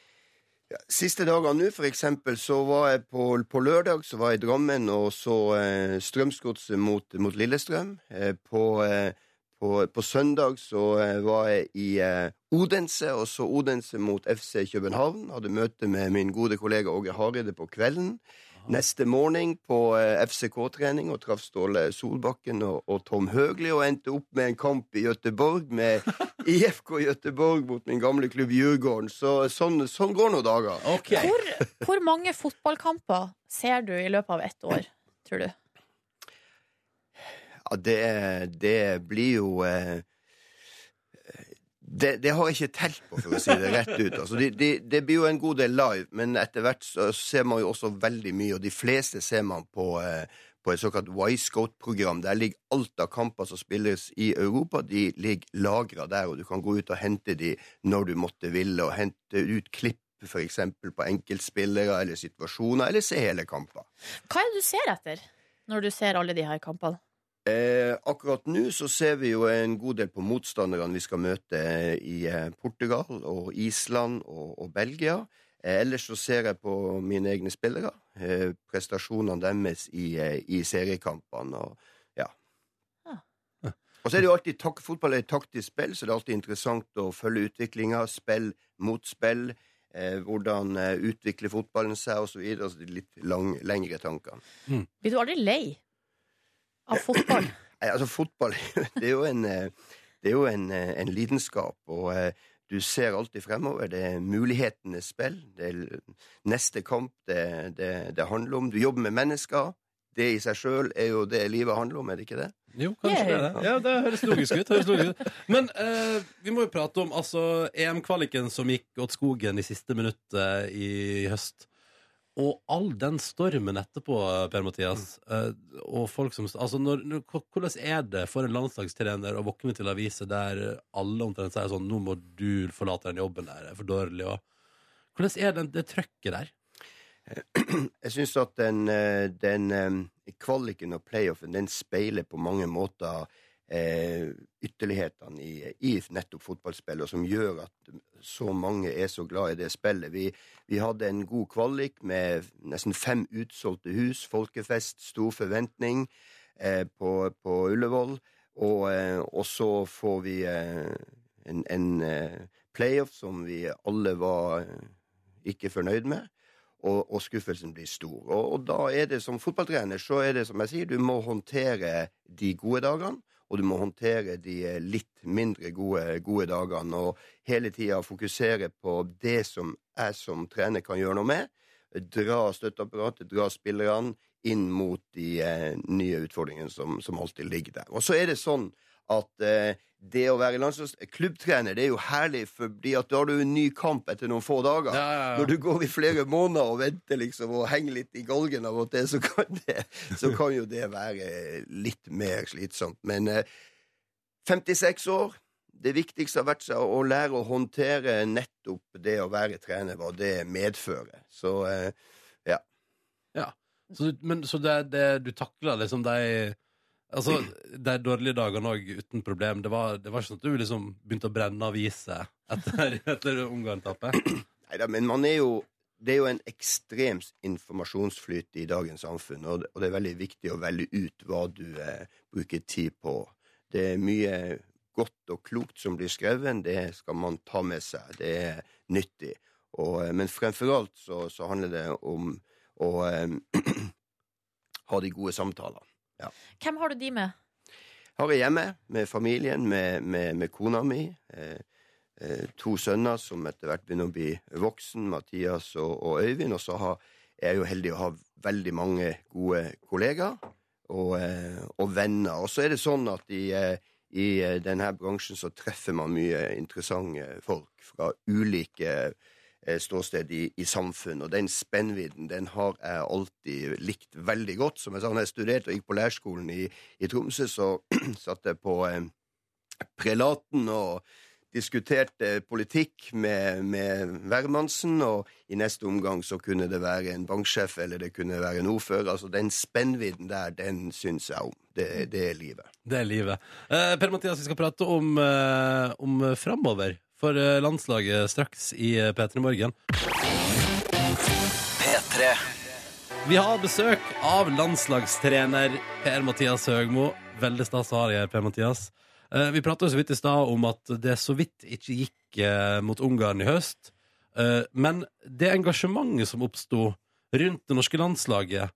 H: Ja, siste dagene nå, for eksempel, så var jeg på, på lørdag så var jeg i Drammen og så eh, Strømsgodset mot, mot Lillestrøm. Eh, på, eh, på, på søndag så eh, var jeg i eh, Odense og så Odense mot FC København. Hadde møte med min gode kollega Åge Hareide på kvelden. Neste morgen på eh, FCK-trening og traff Ståle Solbakken og, og Tom Høgli og endte opp med en kamp i Gøteborg med IFK Gøteborg mot min gamle klubb Djurgården. Så sånn, sånn går nå dager.
B: Ok
C: Hvor, hvor mange fotballkamper ser du i løpet av ett år, tror du?
H: Ja, det, det blir jo eh, det, det har jeg ikke telt på, for å si det rett ut. Altså, de, de, det blir jo en god del live, men etter hvert så ser man jo også veldig mye, og de fleste ser man på, eh, på et såkalt Wisecoat-program. Der ligger alt av kamper som spilles i Europa, de ligger lagra der, og du kan gå ut og hente de når du måtte ville, og hente ut klipp. For eksempel på enkeltspillere eller situasjoner, eller se hele kamper.
C: Hva er det du ser etter når du ser alle de her kampene?
H: Eh, akkurat nå så ser vi jo en god del på motstanderne vi skal møte eh, i eh, Portugal og Island og, og Belgia. Eh, ellers så ser jeg på mine egne spillere, eh, prestasjonene deres i, eh, i seriekampene. Og, ja.
C: Ja.
H: og så er det jo alltid tak fotball er et taktisk spill, så det er alltid interessant å følge utviklinga. Spill mot spill. Eh, hvordan eh, utvikler fotballen seg, osv. Altså de litt lang, lengre tankene.
C: Blir du aldri lei av fotball?
H: Nei, altså fotball det er jo en, eh, det er jo en, eh, en lidenskap, og eh, du ser alltid fremover. Det er mulighetenes spill. Det er l- neste kamp det, det, det handler om. Du jobber med mennesker. Det i seg sjøl er jo det livet handler om, er det ikke det?
B: Jo, kanskje det er det. Ja, det høres logisk ut. Høres logisk ut. Men eh, vi må jo prate om altså, EM-kvaliken som gikk åt skogen i siste minutt eh, i høst. Og all den stormen etterpå, Per-Mathias. eh, og folk som Altså, når, når, hvor- hvordan er det for en landslagstrener å våkne til aviser der alle omtrent sier sånn 'Nå må du forlate den jobben der, det er for dårlig', og Hvordan er den, det trøkket der?
H: Jeg syns at den, eh, den eh, kvaliken og playoffen den speiler på mange måter eh, ytterlighetene i, i nettopp fotballspillet, og som gjør at så mange er så glad i det spillet. Vi, vi hadde en god kvalik med nesten fem utsolgte hus, folkefest, stor forventning eh, på, på Ullevål, og, eh, og så får vi eh, en, en eh, playoff som vi alle var eh, ikke fornøyd med og, og skuffelsen blir stor. Og, og da er det som fotballtrener, så er det som jeg sier, du må håndtere de gode dagene, og du må håndtere de eh, litt mindre gode, gode dagene, og hele tida fokusere på det som jeg som trener kan gjøre noe med. Dra støtteapparatet, dra spillerne inn mot de eh, nye utfordringene som, som alltid ligger der. Og så er det sånn at eh, det å være landslags klubbtrener det er jo herlig, fordi at da har du en ny kamp etter noen få dager.
B: ja,
H: Når du går i flere måneder og venter liksom og henger litt i galgen av og til, så kan, det, så kan jo det være litt mer slitsomt. Men eh, 56 år Det viktigste har vært seg å lære å håndtere nettopp det å være trener, hva det medfører. Så eh,
B: Så, du- men, så det, det, du takla liksom de Altså, de dårlige dagene òg uten problem. Det var, det var ikke sånn at du liksom begynte å brenne aviser etter, etter Ungarn-tapet?
H: Neida, men man er jo Det er jo en ekstrem informasjonsflyt i dagens samfunn, og det, og det er veldig viktig å velge ut hva du eh, bruker tid på. Det er mye godt og klokt som blir skrevet, det skal man ta med seg. Det er nyttig. Og, eh, men fremfor alt så, så handler det om å eh, ha de gode samtalene.
C: Hvem har du de med?
H: Har jeg hjemme med familien, med, med, med kona mi. Eh, eh, to sønner som etter hvert begynner å bli voksen, Mathias og, og Øyvind. Og så har, er jeg jo heldig å ha veldig mange gode kollegaer og, eh, og venner. Og så er det sånn at i, eh, i eh, denne bransjen så treffer man mye interessante folk fra ulike eh, ståsted i, i samfunn, og den spennvidden den har jeg alltid likt veldig godt. Som jeg sa, når jeg studerte og gikk på lærerskolen i, i Tromsø, så satt jeg på eh, prelaten og diskuterte politikk med, med hvermannsen, og i neste omgang så kunne det være en banksjef eller det kunne være en ordfører. Altså, den spennvidden der, den syns jeg om. Det, det er livet.
B: Det er livet. Eh, per Mathias, vi skal prate om, eh, om framover for eh, landslaget straks i eh, P3 Morgen. Vi har besøk av landslagstrener Per-Mathias Høgmo. Veldig stas å ha deg her, Per-Mathias. Eh, Vi prata så vidt i stad om at det så vidt ikke gikk eh, mot Ungarn i høst. Eh, Men det engasjementet som oppsto rundt det norske landslaget,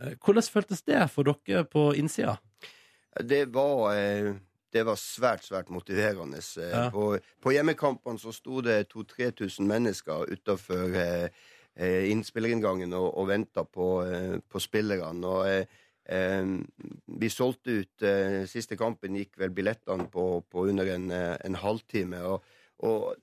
B: eh, hvordan føltes det for dere på innsida?
H: Det var, eh, det var svært, svært motiverende. eh,
B: Ja.
H: På, på hjemmekampene så sto det 2000-3000 mennesker utafor eh, eh, innspillerinngangen og, og venta på, eh, på spillerne. Og eh, eh, vi solgte ut eh, Siste kampen gikk vel billettene på, på under en, eh, en halvtime. Og, og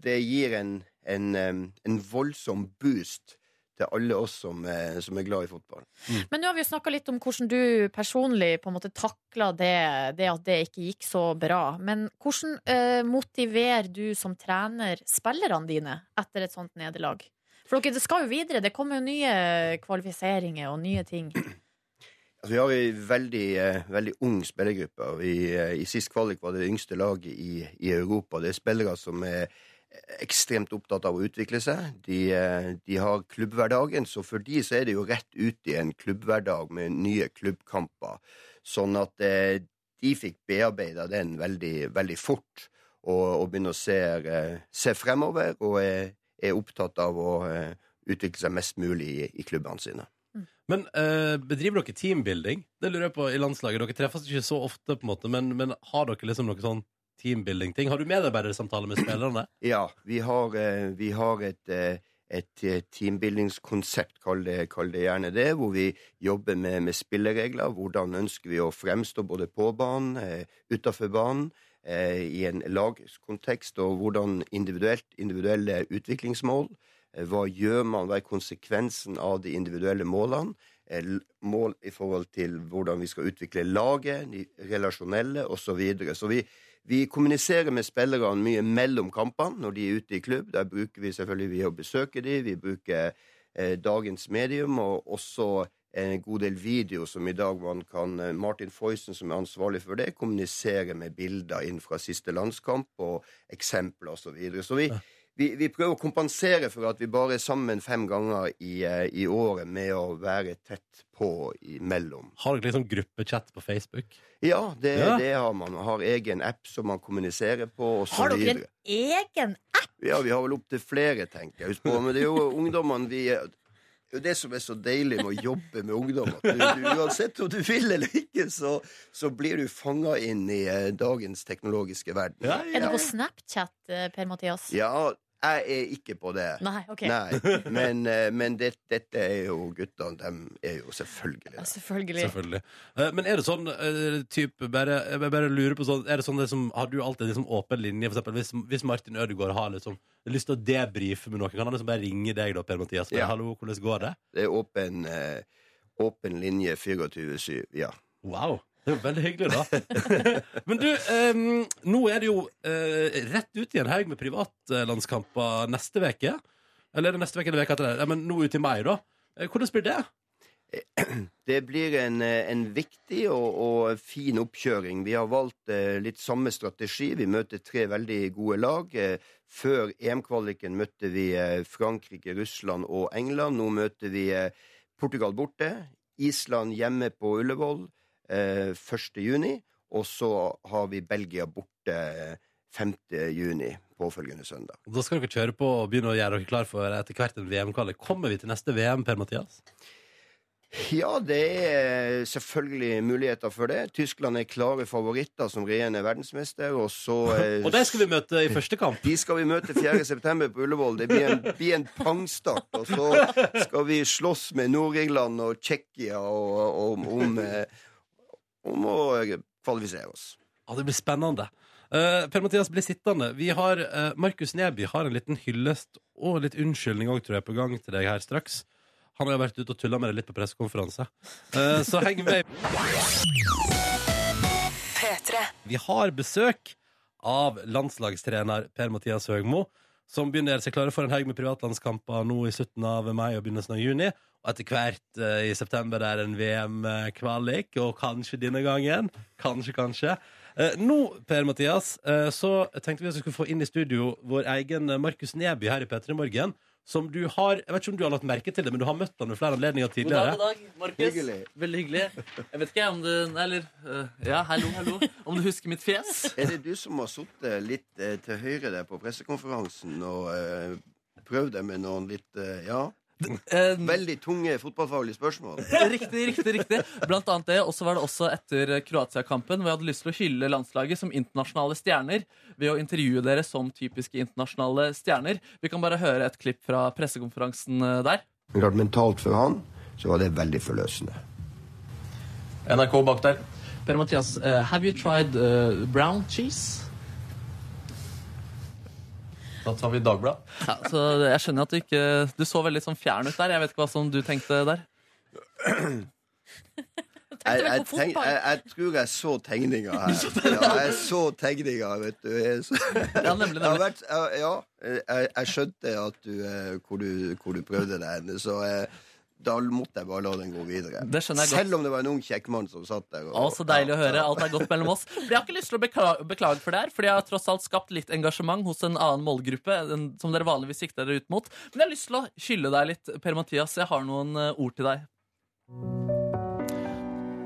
H: det gir en, en, eh, en voldsom boost til alle oss som, eh, som er glad i fotball.
C: Men nå har vi jo snakka litt om hvordan du personlig på en måte takla det, det at det ikke gikk så bra. Men hvordan eh, motiverer du som trener spillerne dine etter et sånt nederlag? For dere, det skal jo videre. Det kommer jo nye kvalifiseringer og nye ting.
H: Altså, vi har en veldig, eh, veldig ung spillergruppe. og Vi, eh, I sist kvalik var det yngste laget i, i Europa. Det er spillere som er ekstremt opptatt av å utvikle seg. De, eh, de har klubbhverdagen, så for de så er det jo rett ut i en klubbhverdag med nye klubbkamper. Sånn at eh, de fikk bearbeida den veldig, veldig fort, og, og begynner å se, eh, se fremover, og er, er opptatt av å eh, utvikle seg mest mulig i, i klubbene sine.
B: Men eh, bedriver dere teambuilding? Det lurer jeg på i landslaget. Dere treffes ikke så ofte, på en måte, men, men har dere liksom noe sånn teambuilding-ting? Har du medarbeidersamtale med spillerne?
H: Ja, vi har, eh, vi har et, eh, et eh, teambuildingskonsept, kall det, kall det gjerne det, hvor vi jobber med, med spilleregler. Hvordan ønsker vi å fremstå både på banen, eh, utafor banen, eh, i en lagkontekst, og hvordan individuelt, individuelle utviklingsmål. eh, Hva gjør man, hva er konsekvensen av de individuelle målene? eh, l- Mål i forhold til hvordan vi skal utvikle laget, de relasjonelle osv. Så, videre. så vi, vi kommuniserer med spillerne mye mellom kampene når de er ute i klubb. Der bruker vi selvfølgelig vi å besøke dem, vi bruker eh, dagens medium, og også en god del video som i dag man kan eh, Martin Foysen, som er ansvarlig for det, kommuniserer med bilder inn fra siste landskamp og eksempler osv. Så, videre. så vi, vi, vi prøver å kompensere for at vi bare er sammen fem ganger i, eh, i året med å være tett på imellom.
B: Har dere liksom gruppechat på Facebook?
H: Ja, det,
B: Ja.
H: det har man. Man har egen app som man kommuniserer på. Og så
C: Har dere en
H: videre.
C: egen
H: Ja, vi har vel opptil flere, tenker jeg. Husk på, men det er jo ungdommene vi er- det er jo det som er så deilig med å jobbe med ungdom. At du, du, uansett om du vil eller ikke, så, så blir du fanga inn i eh, dagens teknologiske verden.
B: Ja,
C: Er du på Snapchat, eh, Per-Mathias?
H: Ja, jeg er ikke på det.
C: Nei, OK.
H: Nei, men, eh, men det, dette er jo guttene. De er jo selvfølgelig
C: Ja,
H: det.
C: Selvfølgelig.
B: Selvfølgelig. Eh, Men er det sånn eh, type bare, Jeg bare lurer på sånn Er det sånn det som Har du alltid liksom åpen linje? For eksempel hvis, hvis Martin Ødegaard har liksom lyst til å debrife med noen, kan han liksom bare ringe deg, da, Per Mathias? Bare,
H: Ja.
B: Hallo, hvordan går det?
H: Det er åpen, eh, åpen linje 24-7. Ja.
B: Wow. Det er jo veldig hyggelig, da. Men du, em, nå er det jo eh, rett ut i en haug med privatlandskamper neste veke Eller er det neste veke eller veka etter det? Ja, men nå ut i mai, da. Eh, Hvordan blir det?
H: Det blir en, eh, en viktig og, og fin oppkjøring. Vi har valgt eh, litt samme strategi. Vi møter tre veldig gode lag. Eh, Før EM-kvaliken møtte vi eh, Frankrike, Russland og England. Nå møter vi eh, Portugal borte, Island hjemme på Ullevål eh, 1. juni, og så har vi Belgia borte eh, 5. juni påfølgende søndag.
B: Da skal dere kjøre på og begynne å gjøre dere klar for etter hvert en VM-kvalik. Kommer vi til neste VM, Per Mathias?
H: Ja, det er selvfølgelig muligheter for det. Tyskland er klare favoritter som regjerende verdensmester, og så eh,
B: Og de skal vi møte i første kamp.
H: de skal vi møte 4. september på Ullevål. Det blir en, blir en pangstart. Og så skal vi slåss med Nord-Irland og Tsjekkia og- og- om, om, eh, om å kvalifisere oss.
B: Ja, det blir spennende. Eh, per Mathias blir sittende. Vi har, eh, Markus Neby har en liten hyllest og litt unnskyldning òg, tror jeg, på gang til deg her straks. Han har jo vært ute og tulla med det litt på pressekonferanse. Eh, så heng med. Vi har besøk av landslagstrener Per-Mathias Høgmo, som begynner å gjøre seg klare for en haug med privatlandskamper nå i slutten av mai og begynnelsen av juni. Og etter hvert eh, i september er det en VM-kvalik, og kanskje denne gangen. Kanskje, kanskje. Eh, nå, Per-Mathias, eh, så tenkte vi at vi skulle få inn i studio vår egen Markus Neby her i P3 Morgen. Som du har Jeg vet ikke om du har lagt merke til det, men du har møtt han ved flere anledninger
D: God dag,
B: tidligere.
D: god dag, Markus.
H: Hyggelig.
D: Veldig hyggelig. Jeg vet ikke om du Eller øh, Ja, hallo, hallo. Om du husker mitt fjes?
H: Er det du som har sittet litt eh, til høyre der på pressekonferansen og eh, prøvd deg med noen litt eh, Ja,
D: Eh,
H: veldig tunge fotballfaglige spørsmål?
D: Riktig, riktig, riktig. Blant annet det. Og så var det også etter Kroatia-kampen, hvor jeg hadde lyst til å hylle landslaget som internasjonale stjerner ved å intervjue dere som typiske internasjonale stjerner. Vi kan bare høre et klipp fra pressekonferansen eh, der.
H: Men klart, mentalt for han så var det veldig forløsende.
G: NRK bak der.
D: Per Mathias, eh, have you tried eh, brown cheese?
G: Da tar vi Dagbladet.
D: Ja, så jeg skjønner at du ikke Du så veldig sånn fjern ut der. Jeg vet ikke hva som du tenkte der.
H: Jeg,
C: Tenkte vel
H: jeg,
C: på
H: tenk,
C: fotball.
H: jeg, jeg tror jeg så tegninga her. Ja, jeg så tegninga, vet du. Jeg, så,
D: Ja, nemlig,
H: jeg har
D: nemlig.
H: vært, ja, ja, jeg, jeg skjønte at du, eh, hvor, du, hvor du prøvde deg hen. Så eh, da måtte jeg bare la den gå videre.
D: Det skjønner jeg godt.
H: Selv om det var en ung kjekk mann som satt der.
D: Å, så deilig å høre. Alt er godt mellom oss. For Jeg har ikke lyst til å bekla beklage for det her, for jeg har tross alt skapt litt engasjement hos en annen målgruppe enn som dere vanligvis sikter dere ut mot. Men jeg har lyst til å hylle deg litt, Per-Mathias. Jeg har noen eh, ord til deg.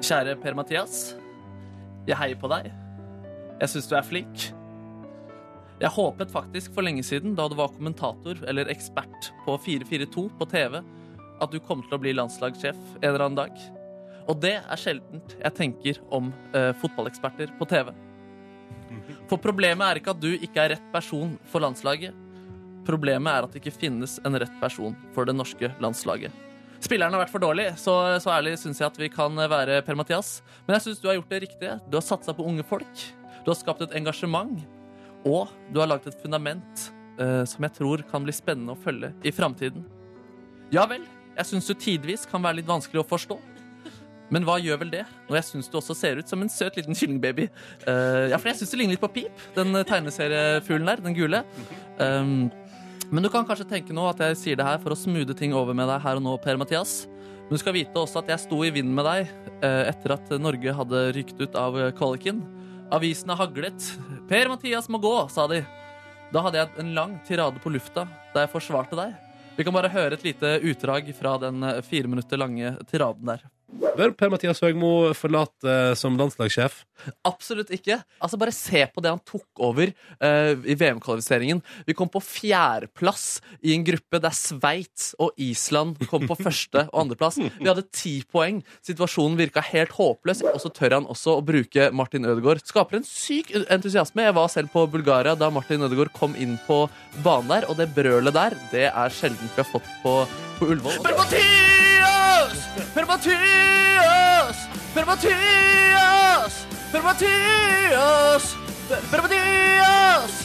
D: Kjære Per-Mathias. Jeg heier på deg. Jeg syns du er flink. Jeg håpet faktisk for lenge siden, da du var kommentator eller ekspert på 442 på TV, at du kom til å bli landslagssjef en eller annen dag. Og det er sjeldent jeg tenker om eh, fotballeksperter på TV. For problemet er ikke at du ikke er rett person for landslaget. Problemet er at det ikke finnes en rett person for det norske landslaget. Spilleren har vært for dårlig, så, så ærlig syns jeg at vi kan eh, være Per-Mathias. Men jeg syns du har gjort det riktige. Du har satsa på unge folk. Du har skapt et engasjement. Og du har lagt et fundament eh, som jeg tror kan bli spennende å følge i framtiden. Ja vel, jeg syns du tidvis kan være litt vanskelig å forstå. Men hva gjør vel det, når jeg syns du også ser ut som en søt liten kyllingbaby? Eh, ja, for jeg syns du ligner litt på Pip, den eh, tegneseriefuglen der, den gule. Um, men du kan kanskje tenke nå at jeg sier det her for å smoothe ting over med deg her og nå, Per-Mathias. Men du skal vite også at jeg sto i vinden med deg eh, etter at Norge hadde rykt ut av eh, kvaliken. Avisene haglet. Per-Mathias må gå, sa de. Da hadde jeg en lang tirade på lufta da jeg forsvarte deg. Vi kan bare høre et lite utdrag fra den eh, fire minutter lange tiraden der.
B: Bør Per-Mathias Høgmo forlate eh, som landslagssjef?
D: Absolutt ikke. Altså Bare se på det han tok over eh, i VM-kvalifiseringen. Vi kom på fjerdeplass i en gruppe der Sveits og Island kom på første- og andreplass. Vi hadde ti poeng. Situasjonen virka helt håpløs, og så tør han også å bruke Martin Ødegaard. Skaper en syk entusiasme. Jeg var selv på Bulgaria da Martin Ødegaard kom inn på banen der, og det brølet der, det er sjelden vi har fått på, på Ullevål. Per-Mathias! Per-Mathias! Per-Mathias! Per-Mathias! Per-Mathias!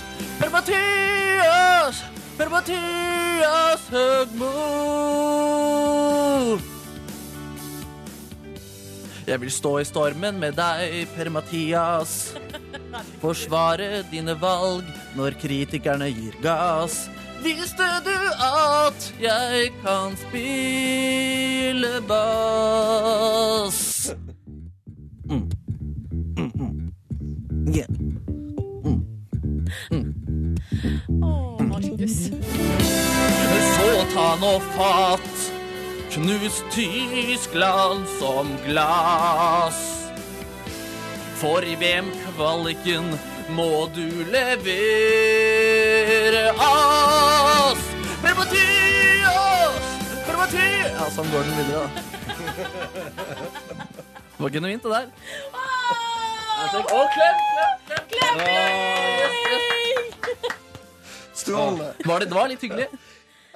D: Per-Mathias! Per-Mathias Høgmo! Jeg vil stå i stormen med deg, Per-Mathias. Forsvare dine valg når kritikerne gir gass. Visste du at jeg kan spille bass? Mm. Mm, mm. Yeah.
C: Å, Markus.
D: Så ta nå fatt, knus Tyskland som glass. For i VM-kvaliken må du levere ass. Per-Mathias! Per-Mathias! Ja, sånn går den videre, da. Det var genuint, det der. Og Altså, klem, klem, klem! klem,
H: Strålende.
D: Var det, det var litt hyggelig.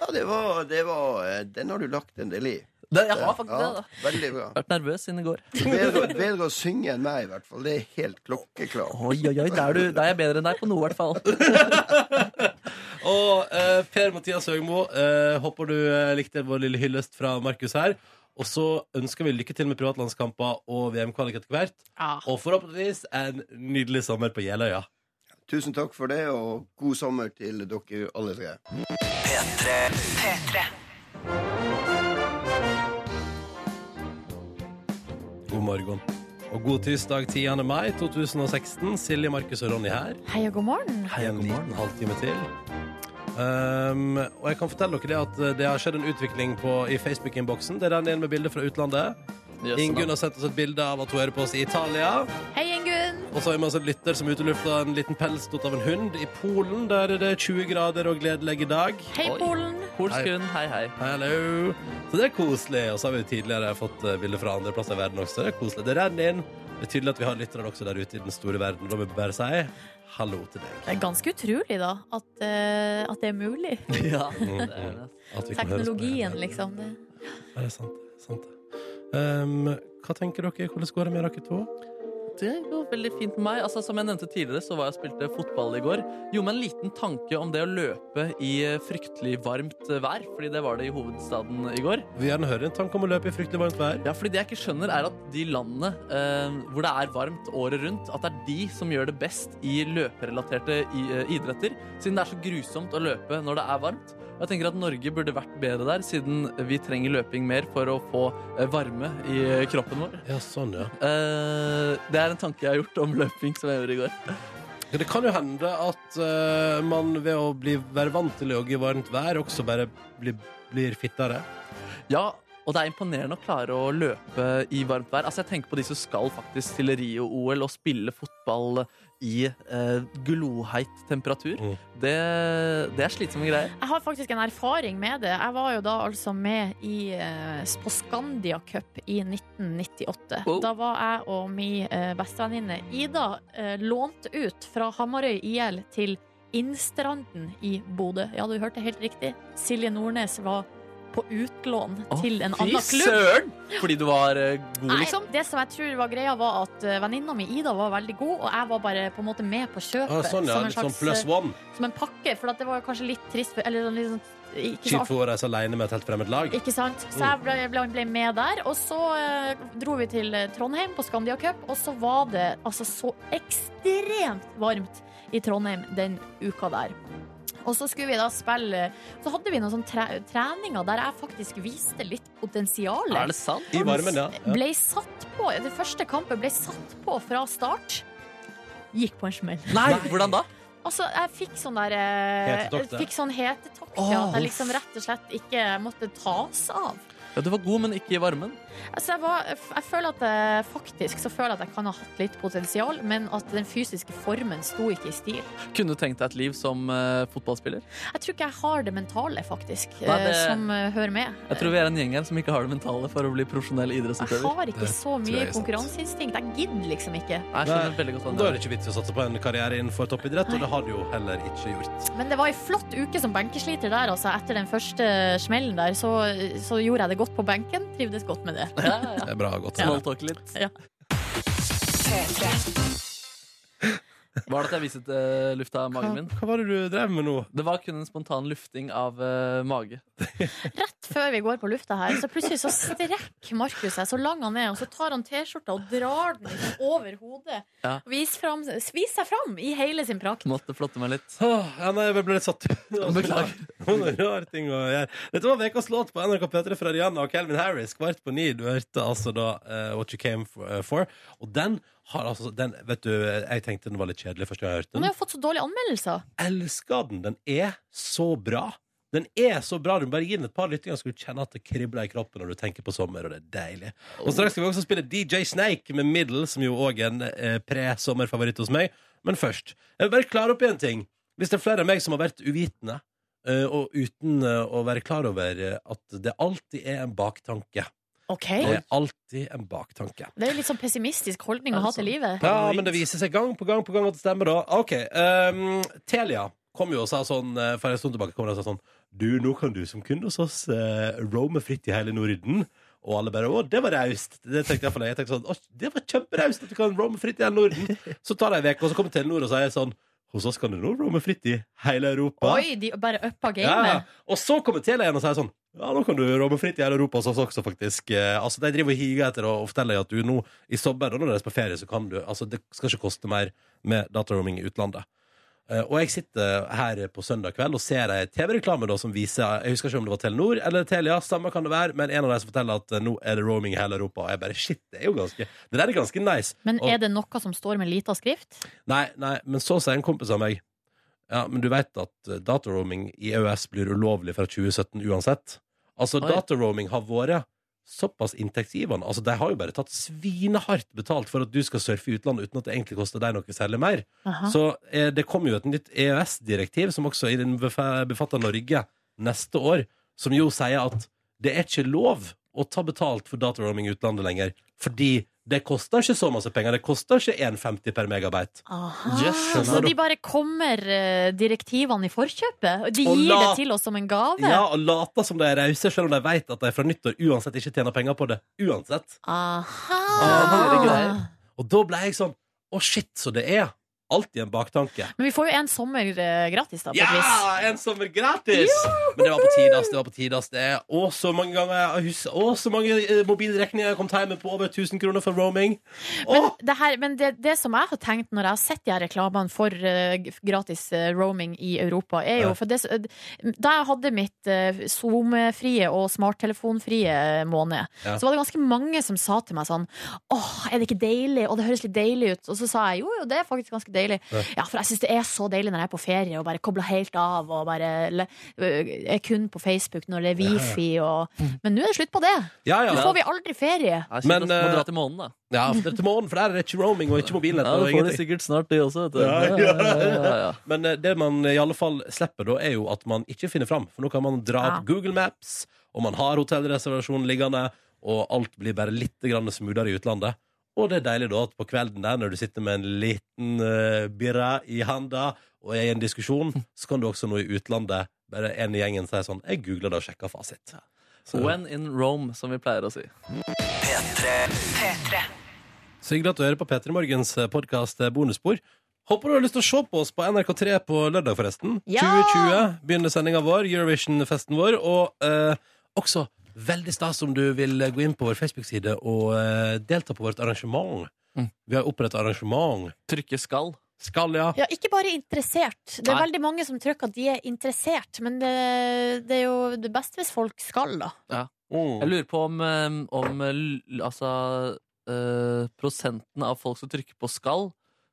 H: Ja, det var, det var eh, Den har du lagt en del i.
D: Det, jeg har faktisk det. da.
H: Veldig bra.
D: Vært nervøs siden i går.
H: Bedre, bedre å synge enn meg, i hvert fall. Det er helt klokkeklart.
D: Oi, oi, oi, da er, du, da er jeg bedre enn deg på noe, i hvert fall.
B: Og eh, Per-Mathias Høgmo, eh, håper du eh, likte vår lille hyllest fra Markus her. Og så ønsker vi lykke til med privatlandskamper og VM-kvalik etter hvert.
C: Ja.
B: Og forhåpentligvis en nydelig sommer på Jeløya.
H: Tusen takk for det, og god sommer til dere alle tre.
B: God morgen. Og god tirsdag 10. mai 2016. Silje, Markus og Ronny her.
C: Hei og god morgen.
B: Hei, en liten halvtime til. Um, og jeg kan fortelle dere det at eh, det har skjedd en utvikling på, i Facebook-innboksen. Det renner inn med bilder fra utlandet. Ingunn har sendt oss et bilde av at hun hører på oss i Italia.
C: Hei, Ingunn.
B: Og så har vi med oss en lytter som er ute i lufta en liten pels tatt av en hund. I Polen der er det 20 grader og gledelig dag.
C: Hei,
D: Oi.
C: Polen.
D: Polsk hund, hei, hei.
B: Hello. Så det er koselig. Og så har vi jo tidligere fått eh, bilder fra andre plasser i verden også. Det er koselig. Det renner inn. Det er tydelig at vi har lyttere også der ute i den store verden. Da må vi bare si hallo til deg.
C: Det er ganske utrolig, da, at, eh, at det er mulig.
D: Ja, det er
B: Mm.
D: det.
B: At vi kan høres på
C: Teknologien,
B: hele verden.
C: liksom. Det.
B: Ja, det er sant. det er sant. Um, hva tenker dere? Hvordan går det med dere to?
D: Det går veldig fint med meg. Altså, som jeg nevnte tidligere, så var jeg og spilte fotball i går. Gjorde meg en liten tanke om det å løpe i eh, fryktelig varmt eh, vær, fordi det var det i hovedstaden i går.
B: Vi vil gjerne høre en tanke om å løpe i fryktelig varmt vær.
D: Ja, fordi det jeg ikke skjønner, er at de landene eh, hvor det er varmt året rundt, at det er de som gjør det best i løperelaterte i, eh, idretter, siden det er så grusomt å løpe når det er varmt. Og jeg tenker at Norge burde vært bedre der, siden vi trenger løping mer for å få eh, varme i kroppen vår.
B: Ja, sånn, ja.
D: Eh, det er en tanke jeg har gjort om løping som jeg gjorde i går.
B: Ja, Det kan jo hende at eh, man ved å bli, være vant til å jogge i varmt vær, også bare blir, blir fittere.
D: Ja, og det er imponerende å klare å løpe i varmt vær. Altså, jeg tenker på de som skal faktisk til Rio-OL og spille fotball i eh, gloheit temperatur.
B: Mm.
D: Det, det er slitsomme greier.
C: Jeg har faktisk en erfaring med det. Jeg var jo da altså med i, eh, på Scandia Cup i 1998.
D: Wow.
C: Da var jeg og min eh, bestevenninne Ida eh, lånt ut fra Hamarøy IL til Innstranden i Bodø. Ja, du hørte helt riktig. Silje Nordnes var på utlån
D: Å,
C: til en
D: Fy
C: annen klubb.
D: søren! Fordi du var eh, god,
C: Nei,
D: liksom?
C: det som jeg tror var greia, var at eh, venninna mi Ida var veldig god, og jeg var bare på en måte med på kjøpet.
B: Ah, sånn, ja.
C: som, en
B: Litt sånn
C: slags,
B: plus
C: eh,
B: one.
C: som en pakke, for at det var jo kanskje litt trist. for- Eller sånn litt sånn- ikke så
B: Kjipt for Mm. å reise alene med et helt fremmed lag.
C: ikke sant? Så jeg ble, ble, ble med der. Og så eh, dro vi til eh, Trondheim på Scandia Cup, og så var det altså så ekstremt varmt i Trondheim den uka der. Og så skulle vi da spille Så hadde vi noen sånne tre treninger der jeg faktisk viste litt potensial.
D: Er det sant?
B: I varmen, ja. ja.
C: Ble satt på. Den første kampen ble satt på fra start. Gikk på en smell.
D: Nei, hvordan da?
C: Altså, jeg fikk sånn der eh,
B: Hetetokt, ja.
C: Fikk sånn hetetokt,
D: Åh,
C: ja. At jeg
D: uff.
C: liksom rett og slett ikke måtte tas av.
D: Ja, du var god, men ikke i varmen.
C: Altså, jeg, var, jeg føler at jeg, faktisk så føler jeg at jeg kan ha hatt litt potensial, men at den fysiske formen sto ikke i stil.
D: Kunne du tenkt deg et liv som eh, fotballspiller?
C: Jeg tror ikke jeg har det mentale, faktisk,
D: Nei, det-
C: eh, som eh, hører med.
D: Jeg tror vi er en gjeng her som ikke har det mentale for å bli profesjonell
C: Jeg
D: idrettsutøver.
C: har ikke
B: Det
C: så
B: tror jeg
C: mye
B: er sant.
C: konkurranseinstinkt. Jeg gidder liksom ikke.
D: Jeg skjønner veldig godt hva
B: Da er
D: det
B: det ikke vits i å satse på en karriere innenfor toppidrett, og det har du jo heller ikke gjort.
C: Men det var ei flott uke som benkesliter der, altså. Etter den første smellen der, så, så gjorde jeg det godt på benken. Trivdes godt med det.
D: er. Ja, ja.
B: Det er bra, godt
D: ja.
B: sånn.
D: Smalltalk litt.
C: Ja.
D: Var det at jeg viset eh, lufta av magen min?
B: Hva, hva var det du drev med nå?
D: Det var kun en spontan lufting av eh, mage.
C: Rett før vi går på lufta her, så plutselig så strekker Markus seg så lang han er, og så tar han T-skjorta og drar den liksom over hodet.
D: Ja.
C: Vis, fram, vis seg fram i hele sin prakt.
D: Måtte flotte meg litt.
B: Åh, ja, nei, jeg ble litt satt ut.
D: Beklager.
B: Noen rare ting å gjøre. Dette var ukas låt på NRK P3 fra Rihanna og Calvin Harris. Kvart på ni. Du hørte altså da eh, What You Came For. eh, for. Og den har altså den, Vet du, jeg tenkte den var litt kjedelig første gang jeg hørte
C: Han
B: den.
C: har jo fått så dårlige anmeldelser.
B: Elska den. Den er så bra. Den er så bra. Du må bare gi den et par lyttinger, så skal du kjenne at det kribler i kroppen når du tenker på sommer, og det er deilig. Og straks skal vi også spille DJ Snake med Middle, som jo òg er en eh, pre-sommerfavoritt hos meg. Men først, jeg vil bare klare opp i en ting. Hvis det er flere av meg som har vært uvitende, eh, og uten eh, å være klar over eh, at det alltid er en baktanke.
C: Ok.
B: Det
C: Det
B: er alltid en baktanke.
C: er jo litt sånn pessimistisk holdning
D: Er
C: å
D: det
C: ha til
D: sånn?
C: livet.
B: Ja, men det viser seg gang på gang på gang at det stemmer, da. OK. ehm, Telia kom jo og sa sånn eh, for en stund tilbake kom de og sa sånn Du, nå kan du som kunde hos oss eh, roame fritt i hele Norden. Og alle bare 'Å, det var raust'. Det tenkte jeg for deg. Jeg tenkte sånn, «Å, det var kjemperaust at du kan roame fritt i hele Norden. Så tar de en uke, og så kommer Telenor og sier sånn Hos oss kan du nå roame fritt i hele Europa.
C: Oi, de bare uppa
B: Ja,
C: gamet.
B: og så kommer Telia igjen og sier sånn Ja, nå kan du romme fritt i hele Europa hos oss også, faktisk. Eh, altså, De driver og higer etter og forteller at du nå i sommer, og når dere er på ferie, så kan du Altså, det skal ikke koste mer med dataroaming i utlandet. Eh, og jeg sitter her på søndag kveld og ser ei TV-reklame da som viser Jeg husker ikke om det var Telenor eller Telia, samme kan det være, men en av dem som forteller at eh, nå er det roaming i hele Europa, og jeg bare Shit, det er jo ganske Det der er ganske nice.
C: Men
B: Og-
C: er det noe som står med lita skrift?
B: Nei, nei, men så sier en kompis av meg Ja, men du vet at eh, dataroaming i EØS blir ulovlig fra 2017 uansett. Altså,
D: Oi.
B: dataroaming har vært såpass inntektsgivende. Altså, de har jo bare tatt svinehardt betalt for at du skal surfe i utlandet uten at det egentlig koster deg noe særlig mer.
C: Aha.
B: Så eh, det kommer jo et nytt EØS-direktiv som også i den befa- befatter Norge neste år, som jo sier at det er ikke lov å ta betalt for dataroaming i utlandet lenger, fordi det koster ikke så masse penger. Det koster ikke 1,50 per megabyte.
C: Aha.
D: Yes,
C: så
B: skjønner du.
C: de bare kommer eh, direktivene i forkjøpet? og De
B: Og
C: gir
B: la-
C: det til oss som en gave?
B: Ja, og later som de er rause, selv om de vet at de fra nyttår uansett ikke tjener penger på det. Uansett.
C: Aha!
B: Ah, det er greier. Og da ble jeg sånn Å, shit, så det er alltid en baktanke.
C: Men vi får jo en sommer eh, gratis, da, på et vis.
B: Ja! En sommer gratis! Men det var på tide, ass. Det var på tide, ass. Det er å, så mange ganger jeg husker Å, så mange eh, mobilregninger jeg har kommet hjem med på over 1000 kroner for roaming.
C: Men,
B: Åh!
C: det, her, men det, det som jeg har tenkt når jeg har sett de her reklamene for eh, g- gratis eh, roaming i Europa, er jo
B: Ja.
C: for det, s- eh, Da jeg hadde mitt eh, Zoom-frie og smarttelefonfrie eh, måned,
B: Ja.
C: så var det ganske mange som sa til meg sånn Åh, er det ikke deilig? Og det høres litt deilig ut. Og så sa jeg jo, jo, det er faktisk ganske deilig.
B: Ja.
C: Ja, for jeg syns det er så deilig når jeg er på ferie og bare kobler helt av og bare le, øh, er kun på Facebook når det er wifi og Men nå er det slutt på det.
B: Ja, Mm. ja.
C: Nå får vi aldri ferie.
D: Ja, Men,
B: Men,
D: må
B: eh,
D: dra til månen, da.
B: ja for det er til morgen, for der er det ikke roaming og ikke mobilnett.
D: Ja,
B: og
D: det får de
B: ingenting.
D: sikkert snart, de også. Vet du.
B: Ja, ja,
D: ja, ja.
B: Men eh, det man i alle fall slipper da, er jo at man ikke finner fram. For nå kan man dra opp Google Maps, og man har hotellreservasjon liggende, og alt blir bare litt grann smoothere i utlandet. Og det er deilig da at på kvelden der, når du sitter med en liten uh, birra i handa og er i en diskusjon, så kan du også nå i utlandet bare en i gjengen si sånn Jeg googler det og sjekker fasit. Så,
D: When in Rome, som vi pleier å si.
B: så hyggelig at du hører på P3 Morgens podkast Bonusspor. Håper du har lyst til å se på oss på NRK3 på lørdag, forresten.
C: Ja!
B: 2020 begynner sendinga vår, Eurovision-festen vår, og eh, også veldig stas om du vil gå inn på vår Facebook-side og eh, delta på vårt arrangement.
D: Mm.
B: Vi har oppretta arrangement.
D: Trykke skal.
B: Skal, ja.
C: Ja, ikke bare interessert. Det er
D: Nei.
C: veldig mange som trykker at de er interessert, men det, det er jo det beste hvis folk skal, da.
D: Jeg
B: Mm.
D: lurer på om, eh, om eh, l- altså, eh, prosenten av folk som trykker på skal,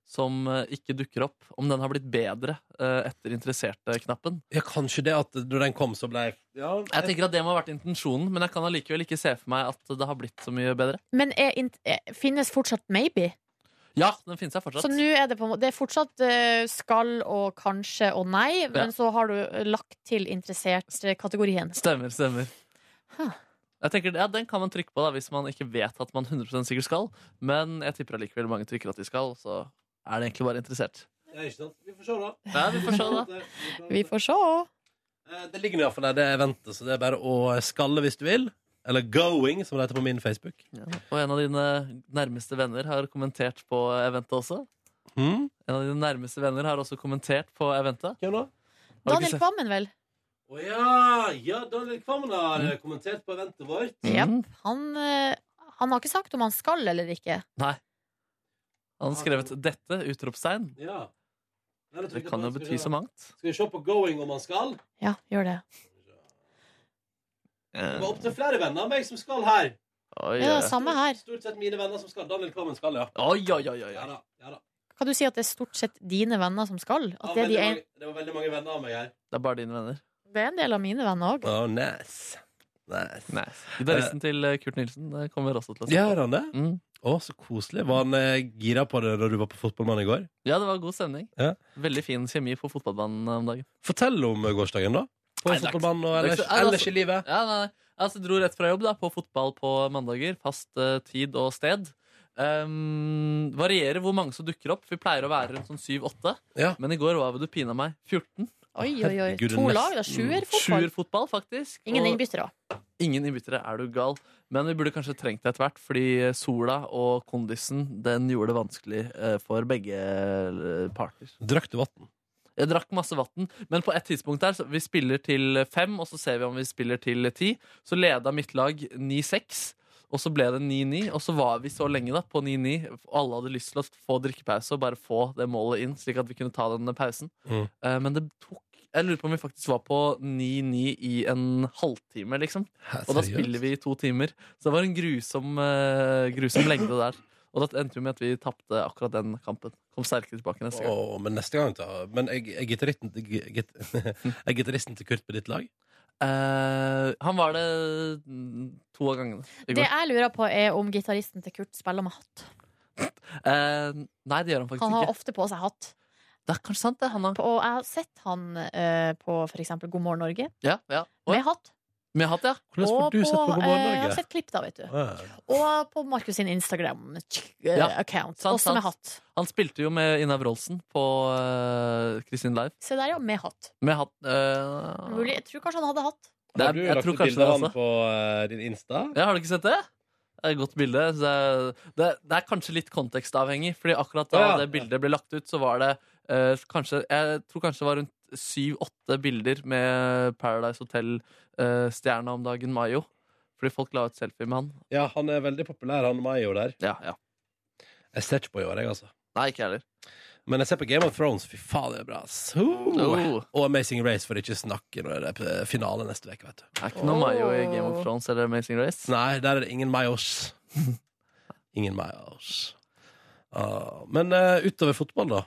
D: som eh, ikke dukker opp, om den har blitt bedre eh, etter interesserte-knappen.
B: ja, kanskje det at når den kom, så ble jeg ja,
D: Jeg tenker at Det må ha vært intensjonen, men jeg kan allikevel ikke se for meg at det har blitt så mye bedre.
C: Men er, int- eh, finnes fortsatt maybe?
D: Ja, den finnes jeg fortsatt.
C: Så nå er det på en måte Det er fortsatt eh, skal og kanskje og nei, men så har du eh, lagt til eh, interessert-kategorien.
D: Stemmer, stemmer.
C: Huh.
D: Jeg tenker, ja, Den kan man trykke på da, hvis man ikke vet at man 100 sikkert skal. Men jeg tipper allikevel mange trykker at de skal, så er det egentlig bare interessert.
B: Ja, ikke sant? Vi får se, da.
D: Ja, vi får se da.
C: Vi får se.
B: Eh, Det ligger iallfall der, det er eventet, så det er bare å skalle hvis du vil. Eller going, som det heter på min Facebook.
D: Og en av dine nærmeste venner har kommentert på eventet også.
B: Mm.
D: En av dine nærmeste venner har også kommentert på eventet.
B: Hvem da?
D: Har du ikke
C: Daniel
D: sett-
C: Kvammen, vel?
B: Å ja! ja Daniel Kvammen har eh, kommentert på eventet vårt.
C: Ja.
D: Mm.
C: Han, eh, han har ikke sagt om han skal eller ikke.
D: Nei. Han har skrevet 'dette', utropstegn.
B: Ja. Nei,
D: Det kan jo bety så mangt.
B: Skal vi se på going om han skal?
C: Ja, gjør det.
B: Det var opptil flere venner av meg som skal her.
D: Oi,
C: Ja,
D: oi,
C: samme her.
B: Stort sett mine venner som skal. Daniel Kvammen skal, ja.
D: oi. oi, oi, oi.
B: Ja da. Ja, da.
C: Kan du si at det er stort sett dine venner som skal? At
B: Ja,
C: det, er
B: veldig
C: de en,
B: mange, det var veldig mange venner av meg her.
D: Det er bare dine venner.
C: det er en del av mine venner òg.
B: Oh, nice. nice.
D: Nei. Gitaristen til eh, Kurt Nilsen eh, kommer også til å se på.
B: Gjør han det?
D: Mm.
B: Å, så koselig. Var han eh, gira på det da du var på Fotballmann i går?
D: Ja, det var god stemning.
B: Ja.
D: Veldig fin kjemi på fotballbanen eh, om dagen.
B: Fortell om eh, gårsdagen, da. På
D: Nei, det er ikke-
B: fotballbanen og
D: det er ikke
B: ellers,
D: så- Nei, det er
B: ellers i livet.
D: Ja, nei, nei. Altså, dro rett fra jobb da, på fotball på mandager. Fast eh, tid og sted. Ehm, varierer hvor mange som dukker opp. Vi pleier å være rundt sånn syv-åtte.
B: Ja.
D: Men i går var det du pina meg 14.
C: Oi, oi, oi.
B: Herregud,
C: To
B: nest-
C: lag, da. Sjuerfotball.
D: Sjuerfotball, faktisk.
C: Ingen
D: og
C: innbyttere.
D: ingen innbyttere. Er du gal? Men vi burde kanskje trengt det etter hvert, fordi sola og kondisen den gjorde det vanskelig eh, for begge eh, parter.
B: Drakk du vann?
D: Jeg drakk masse vann, men på et tidspunkt der så Vi spiller til fem, og så ser vi om vi spiller til ti. Så leda mitt lag 9-6, og så ble det 9-9. Og så var vi så lenge da på 9-9. og Alle hadde lyst til å få drikkepause og bare få det målet inn, slik at vi kunne ta denne pausen.
B: Mm.
D: Eh, Men det tok Jeg lurer på om vi faktisk var på 9-9 i en halvtime, liksom. Og da spiller vi i to timer. Så det var en grusom, eh, grusom lengde der. Og det endte jo med at vi tapte akkurat den kampen. Kom sterkere tilbake neste gang.
B: Åh, men neste gang da Men er er gitaristen gi- git- Er gitaristen til Kurt på ditt lag?
D: Eh, han var det mm, to av gangene i
C: Det
D: går.
C: jeg lurer på, er om gitaristen til Kurt spiller med hatt.
D: Eh, nei, det gjør han faktisk
C: Han har
D: ikke.
C: ofte på seg hatt.
D: Det er kanskje sant, det. Han har.
C: På- Og jeg har sett han eh, på f.eks. God morgen Norge
D: Ja, ja. Oi,
C: med hatt.
D: med hatt, ja.
B: Hvordan får
C: Og
B: du sett på God
C: eh, Jeg har
B: Morgen
C: sett klipp da, vet du.
B: Norge?
C: Og på Markus sin Instagram-account.
D: Ja. Sant,
C: Også med
D: sant.
C: hatt.
D: Han spilte jo med Ina Wroldsen på eh, Kristin Live.
C: Se der, ja. Med hatt.
D: Med hatt eh,
C: Mulig. Jeg tror kanskje han hadde hatt.
D: det er, Jeg tror kanskje det,
B: Har du lagt ut bilde av han
D: altså.
B: på eh, din Insta?
D: Ja, har du ikke sett det? Det er et godt bilde. Så det, er, det, det er kanskje litt kontekstavhengig, fordi akkurat da
B: Å, ja.
D: det bildet ble lagt ut, så var det eh, kanskje Jeg tror kanskje det var rundt syv-åtte bilder med Paradise Hotel-stjerna om dagen, Mayo. Fordi folk la ut selfie med han.
B: Ja, han er veldig populær, han Mayo der.
D: Ja, ja.
B: Jeg ser ikke på i år, jeg, altså.
D: Nei, ikke jeg heller.
B: Men jeg ser på Game of Thrones. Fy faen, det er bra. ass. Ho!
D: Oh.
B: Og Amazing Race, for ikke å snakke når det er finale neste uke, vet du.
D: Det er ikke noe Mayo i Game of Thrones eller Amazing Race.
B: Nei, der er det ingen Mayos. Ingen Mayos. Ah, men eh, utover fotball, da.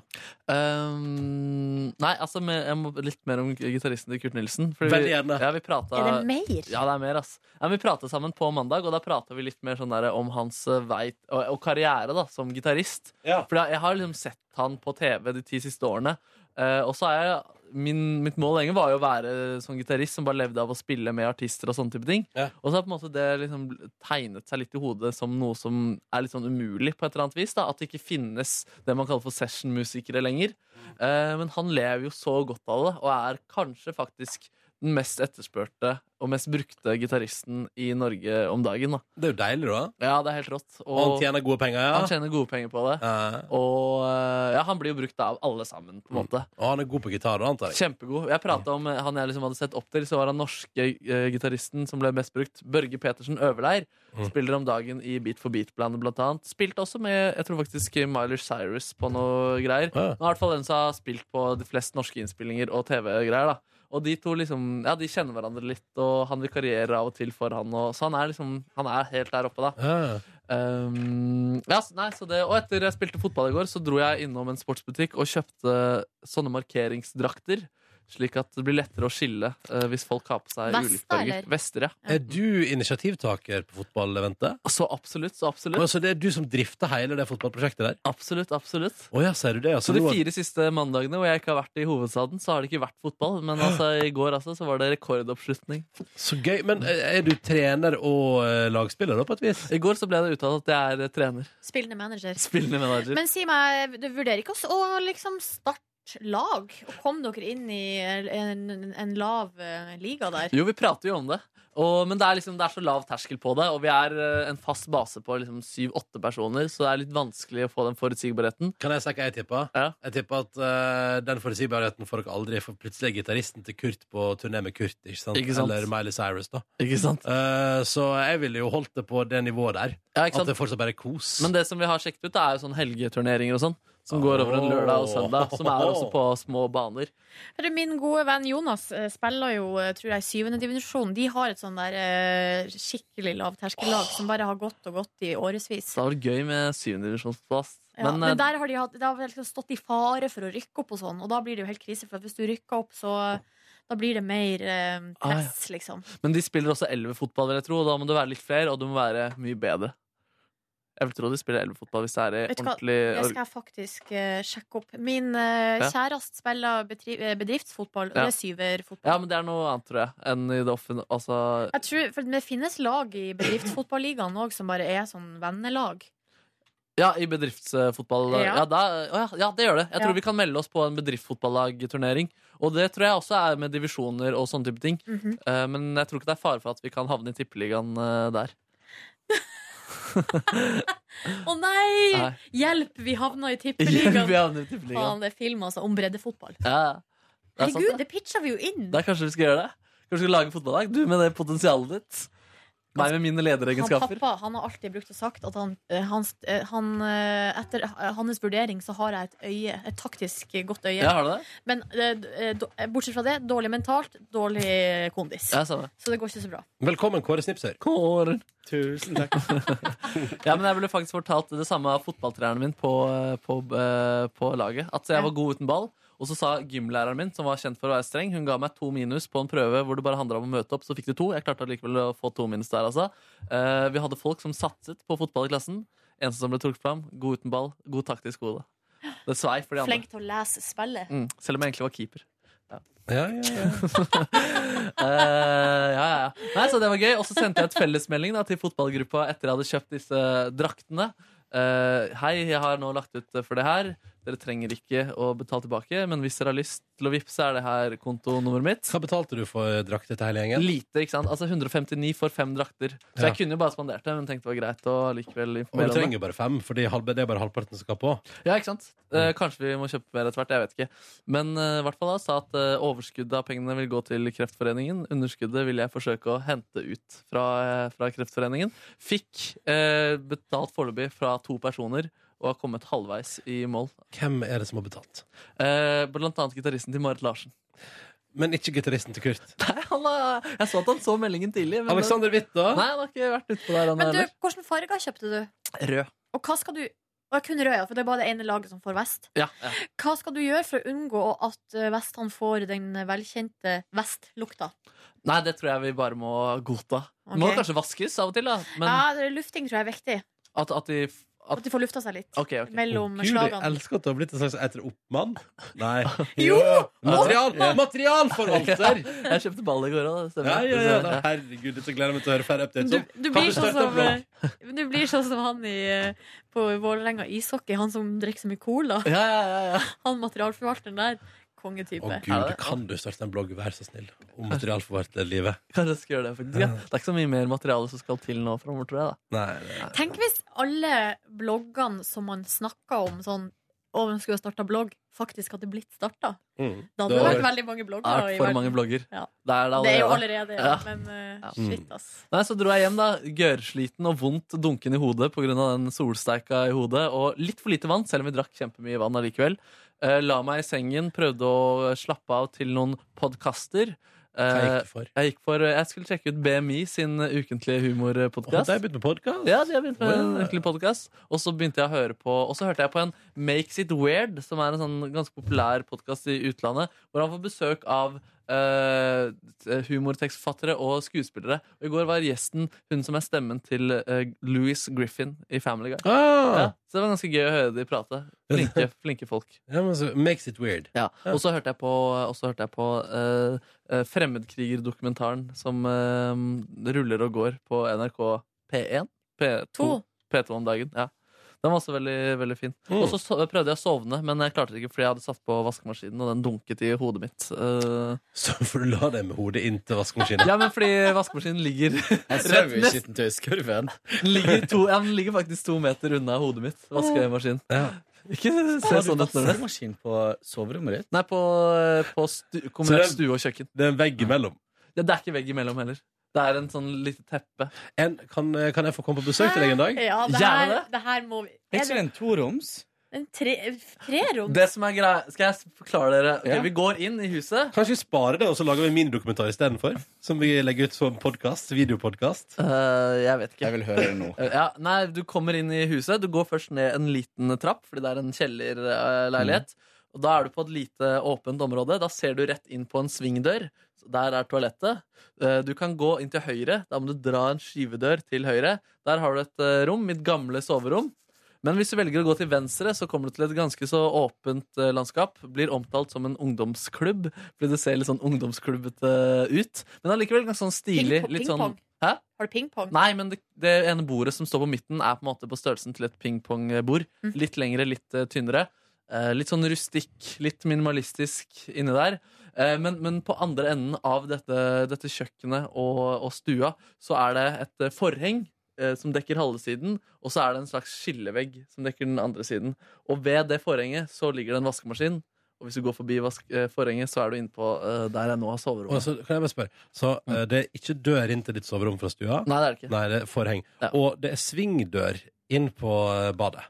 D: Ehm, nei, altså men jeg må litt mer om gitaristen til Kurt Nilsen. fordi vi-
B: Veldig gjerne.
D: Ja, vi prata,
C: Er det mer?
D: Ja, det er mer, ass. Ja, vi prata sammen på mandag, og da prata vi litt mer sånn der om hans eh, vei og, og karriere da, som gitarist.
B: Ja.
D: For jeg- jeg har liksom sett han på TV de ti siste årene. Eh, og så er jeg min, Mitt mål lenge var jo å være sånn gitarist som bare levde av å spille med artister og sånne type ting.
B: Ja.
D: Og så har på en måte det liksom tegnet seg litt i hodet som noe som er litt sånn umulig på et eller annet vis. da At det ikke finnes det man kaller for sessionmusikere lenger. Eh, men han lever jo så godt av det, og er kanskje faktisk den mest etterspurte og mest brukte gitaristen i Norge om dagen. da
B: Det er jo deilig, da.
D: Ja, det er helt rått.
B: Og han
D: Og
B: tjener gode penger, ja.
D: han tjener gode penger på det.
B: Eh,
D: Og eh, ja, han blir jo brukt av alle sammen, på en måte.
B: og han er god på gitar, da, antar jeg.
D: Kjempegod. Jeg pratet om eh, han jeg liksom hadde sett opp til, så var han norske eh, gitaristen som ble mest brukt. Børge Petersen Øverleir.
B: Mm.
D: Spiller om dagen i Beat for beat-bandet, blant annet. Spilte også med jeg tror faktisk eh, Miley Cyrus på noe greier.
B: Ja.
D: Men i hvert fall den som har spilt på de flest norske innspillinger og TV-greier. da Og de to liksom, ja, de kjenner hverandre litt, og han vikarierer av og til for han. Og, så han er liksom, han er helt der oppe, da.
B: Ja.
D: Um, ja, så- nei, så det, og etter jeg spilte fotball i går, så dro jeg innom en sportsbutikk og kjøpte sånne markeringsdrakter. Slik at det blir lettere å skille eh, hvis folk har på seg
C: Vester,
D: ulike farger.
C: eller?
D: Vester, ja.
B: Er du initiativtaker på fotballeventet?
D: Så absolutt, så absolutt.
B: Altså, det er du som drifter hele det fotballprosjektet der?
D: Absolutt, absolutt.
B: Å ja, sier du det?
D: Så
B: Altså,
D: de
B: nå-
D: fire siste mandagene hvor jeg ikke har vært i hovedstaden, så har det ikke vært fotball. Men altså, i går altså, så var det rekordoppslutning.
B: Så gøy. Men eh, er du trener og eh, lagspiller, da, på et vis?
D: I går så ble det uttalt at jeg er eh, trener.
C: Spillende manager.
D: Spillende manager.
C: Men si meg, du vurderer ikke også å liksom starte lag? Og kom dere inn i en, en lav eh, liga der?
D: Jo, vi prater jo om det. Og, men det er, liksom, det er så lav terskel på det, og vi er eh, en fast base på liksom syv-åtte personer, så det er litt vanskelig å få den forutsigbarheten.
B: Kan jeg si hva jeg tipper?
D: Ja.
B: Jeg tipper at eh, den forutsigbarheten får dere aldri, for plutselig er gitaristen til Kurt på turné med Kurt, ikke sant?
D: Ikke sant.
B: Eller Miley Cyrus, da.
D: Ikke sant?
B: Eh, så jeg ville jo holdt det på det nivået der.
D: Ja, ikke
B: At det
D: sant?
B: fortsatt bare er kos.
D: Men det som vi har sjekket ut, det er jo sånn helgeturneringer og sånn, som går over en
B: Åh.
D: lørdag og søndag, som er også på små baner.
C: Eller Min gode venn Jonas eh, spiller jo eh, tror jeg, syvende divisjon. De har et sånn der eh, skikkelig lavterskellag som bare har gått og gått i årevis.
D: Så det har vært gøy med syvendivisjonsplass.
C: Ja, men,
D: men eh,
C: der har de hatt, det har vel liksom stått i fare for å rykke opp og sånn, og da blir det jo helt krise. For at hvis du rykker opp, så da blir det mer eh,
D: Ah, ja.
C: press, liksom.
D: Men de spiller også 11 fotball, vil jeg tro. og Da må du være litt flere, og du må være mye bedre. Jeg vil tro de spiller 11 fotball hvis det er i
C: Vet du hva?
D: ordentlig
C: Det skal jeg faktisk eh, sjekke opp. Min eh,
D: Ja.
C: kjæreste spiller bedri eh, bedriftsfotball, og
D: Ja.
C: det er syverfotball.
D: Ja, men det er noe annet, tror jeg, enn i det offentlige. Altså,
C: Jeg tror, for Det finnes lag i bedriftsfotballigaen òg som bare er sånn vennelag.
D: Ja, i bedriftsfotball. Ja,
C: Ja.
D: da, å ja, ja det gjør det. Jeg tror
C: Ja.
D: vi kan melde oss på en bedriftsfotballagturnering. Og det tror jeg også er med divisjoner og sånne type ting.
C: Mhm.
D: Eh, men jeg tror ikke det er fare for at vi kan havne i tippeligaen eh, der.
C: Å nei!
D: Nei.
C: Hjelp, vi havna i tippeligaen!
D: vi havner i tippeligaen.
C: Faen, det er film altså, om breddefotball.
D: Ja, det er
C: Herregud,
D: sant, det.
C: det pitcha vi jo inn!
D: Da kanskje vi skal gjøre det. Kanskje vi skal lage en fotballag, du med det potensialet ditt. Meg med mine
C: Altså, Han
D: lederegenskaper.
C: pappa han har alltid brukt og sagt at han, eh, hans, eh, han eh, Etter eh, hans vurdering så har jeg et øye, et taktisk godt øye.
D: Ja, har du det?
C: Men eh, d- eh, d- eh, bortsett fra det, dårlig mentalt, dårlig kondis.
D: Ja, samme.
C: Så det går ikke så bra.
B: Velkommen, Kåre Snipser.
D: Kåren.
B: Tusen takk.
D: Ja, men jeg ble faktisk fortalt det samme av fotballtreneren min på, på, eh, på laget. At jeg var god uten ball. Og så sa gymlæreren min, som var kjent for å være streng, hun ga meg to minus på en prøve hvor det bare handla om å møte opp. Så fikk du to. Jeg klarte allikevel å få to minus der, altså. Eh, vi hadde folk som satset på fotball i klassen. Eneste som ble trukket fram, god uten ball, god taktisk hode. Det svei for de andre.
C: Flink til å lese spillet.
D: Mm, selv om jeg egentlig var keeper.
B: Ja, ja, ja.
D: Eh, ja, ja, ja. Nei, så det var gøy. Og så sendte jeg et fellesmelding da, til fotballgruppa etter jeg hadde kjøpt disse draktene. Eh, hei, jeg har nå lagt ut for det her. Dere trenger ikke å betale tilbake, men hvis dere har lyst til å vippse, er det her kontonummeret mitt.
B: Hva betalte du for drakter til hele gjengen?
D: Lite, ikke sant? Altså 159 for fem drakter. Så
B: Ja.
D: jeg kunne jo bare spandert det, men tenkte det var greit å likevel
B: Og du
D: informere om det.
B: trenger bare fem, for det er halv- det er bare halvparten som skal på.
D: Ja, ikke sant? Eh, kanskje vi må kjøpe mer etter hvert, jeg vet ikke. Men eh, i hvert fall da, sa at eh, overskuddet av pengene vil gå til Kreftforeningen. Underskuddet vil jeg forsøke å hente ut fra, eh, fra Kreftforeningen. Fikk eh, betalt foreløpig fra to personer og har kommet halvveis i mål.
B: Hvem er det som har betalt?
D: Eh, blant annet gitaristen til Marit Larsen. Men ikke gitaristen til Kurt. Nei, han har, Jeg så at han så meldingen tidlig. Men
B: Alexander Witt, da?
D: Nei, han har ikke vært ute på der, han
C: Men du,
D: heller.
C: hvilke farger kjøpte du?
D: Rød.
C: Og hva skal du Å, Kun rød, ja, for det er bare det ene laget som får vest.
D: Ja, ja.
C: Hva skal du gjøre for å unngå at eh, vestene får den velkjente vestlukta?
D: Nei, det tror jeg vi bare må godta.
C: Ok.
D: Må kanskje vaskes av og til, da. Men
C: ja, det er lufting tror jeg er viktig.
D: at, Ah. at de
C: At de får lufta seg litt.
D: Ok, ok.
C: Mellom
B: Gud, jeg
C: slagene.
B: elsker at du har blitt en slags etter oppmann. Nei.
C: Jo!
B: Material,
D: Ja.
B: materialforvalter!
D: Jeg kjøpte ball i går òg, det
B: Ja,
D: stemmer.
B: ja, ja, da, herregud, dette gleder jeg meg til å høre flere updates
C: Du,
B: om.
C: du,
B: Kan
C: blir sånn
B: starte en
C: som,
B: blogg?
C: eh, du blir sånn som han i, eh, på Vålerenga ishockey, han som drikker så mye cola.
D: Ja, ja, ja, ja.
C: Han materialforvalteren der.
B: Å
C: Kongetype.
B: gud, kan du starte en blogg, vær så snill, om materialforvalterlivet?
D: Kanskje jeg skal gjøre det. faktisk ja. Det er ikke så mye mer materiale som skal til nå framover, tror jeg.
B: Nei, nei.
C: Tenk hvis alle bloggene som man snakker om sånn Å, man skulle ha starta blogg, faktisk hadde blitt starta.
B: Mm.
C: Da
B: Det
C: hadde det
B: har
C: vært veldig mange
D: da Det har
C: blogger. i
D: vært for
C: verden.
D: mange blogger.
C: Ja.
D: Det er det
C: Det er jo
D: allerede.
C: allerede,
D: Ja.
C: men eh,
D: Ja.
C: shit, ass.
D: Nei, Så dro jeg hjem, da. Gørrsliten og vondt dunken i hodet pga. den solsteika i hodet. Og litt for lite vann, selv om vi drakk kjempemye vann allikevel. Eh, la meg i sengen, prøvde å slappe av til noen podkaster. Eh,
B: Hva gikk du for?
D: jeg gikk for eh, Jeg skulle sjekke ut BMI sin ukentlige
B: Å,
D: humorpodkast.
B: de har begynt med podkast?
D: Ja, de har begynt med en
B: Wow.
D: virkelig podcast Og så begynte jeg å høre på Og så hørte jeg på en Makes It Weird Som er en sånn ganske populær podcast i utlandet Hvor han får besøk av eh, humortekstforfattere og skuespillere Og i går var gjesten Hun som er stemmen til eh, Louis Griffin i Family Guy ja,
B: Ah,
D: Så det var ganske gøy å høre de prate Flinke, flinke folk
B: ja, men så, makes it weird.
D: ja. Og så hørte jeg på, og så hørte jeg på eh, eh, Fremmedkrigerdokumentaren som eh, ruller og går på NRK P1. P2.
C: To.
D: P2 om dagen. Ja. Den var også veldig, veldig fin.
B: Mm.
D: Og så so prøvde jeg å sovne, men jeg klarte det ikke fordi jeg hadde satt på vaskemaskinen, og den dunket i hodet mitt. Eh,
B: Så får du la deg med hodet inntil vaskemaskinen.
D: ja, men fordi vaskemaskinen ligger,
I: Jeg sover jo i skittentøyskurven.
D: den ligger, to, ja, den ligger faktisk to meter unna hodet mitt. Vaskemaskinen.
B: Ja.
D: Ikke se
I: Har du
D: sånn ut når det
I: vaskemaskin på soverommet ditt?
D: Nei, på, eh, på stu, kommunert
B: Så
D: stue og kjøkken.
B: Det er en vegg imellom.
D: Ja, det er ikke vegg imellom heller. Det er en sånn lite teppe.
B: En, kan, kan jeg få komme på besøk til deg en dag?
C: Ja, det
D: Gjerne
C: her,
D: det.
C: det her må vi
I: Er
C: Er
I: ikke det
C: det
I: en toroms?
C: en tre- trerom?
D: Det som er greia Skal jeg forklare dere? Ok,
I: Ja.
D: Vi går inn i huset.
B: Kanskje vi sparer det, og så lager vi en minidokumentar istedenfor? Som vi legger ut som podcast, videopodkast.
D: Eh, jeg vet ikke.
I: Jeg vil høre det nå.
D: Eh, Ja, nei, du kommer inn i huset. Du går først ned en liten trapp, fordi det er en kjellerleilighet. Og Da er du på et lite åpent område. Da ser du rett inn på en svingdør. Så Der er toalettet. Eh, Du kan gå inn til høyre. Da må du dra en skyvedør til høyre. Der har du et eh, rom. Mitt gamle soverom. Men hvis du velger å gå til venstre, så kommer du til et ganske så åpent eh, landskap. Blir omtalt som en ungdomsklubb, fordi det ser litt sånn ungdomsklubbete ut. Men allikevel ganske sånn stilig.
C: Pingpong-
D: Litt sånn
C: pingpong.
D: Hæ?
C: Har du pingpong?
D: Nei, men det, det ene bordet som står på midten, er på en måte på størrelsen til et pingpongbord.
C: Mm.
D: Litt lengre, litt eh, tynnere. Eh, litt sånn rustikk, litt minimalistisk inni der. Eh, men, men på andre enden av dette, dette kjøkkenet og, og stua så er det et eh, forheng eh, som dekker halve siden, og så er det en slags skillevegg som dekker den andre siden. Og ved det forhenget så ligger det en vaskemaskin. Og hvis du går forbi vask, eh, forhenget, så er du inne på eh, der jeg nå har
B: Og
D: soverommet.
B: så kan jeg bare spørre Så
I: Mm.
B: eh, det er ikke dør inn til ditt soverom fra stua?
D: Nei, det er det ikke.
B: Nei, det er forheng.
D: Ja.
B: Og det er svingdør inn på eh, badet.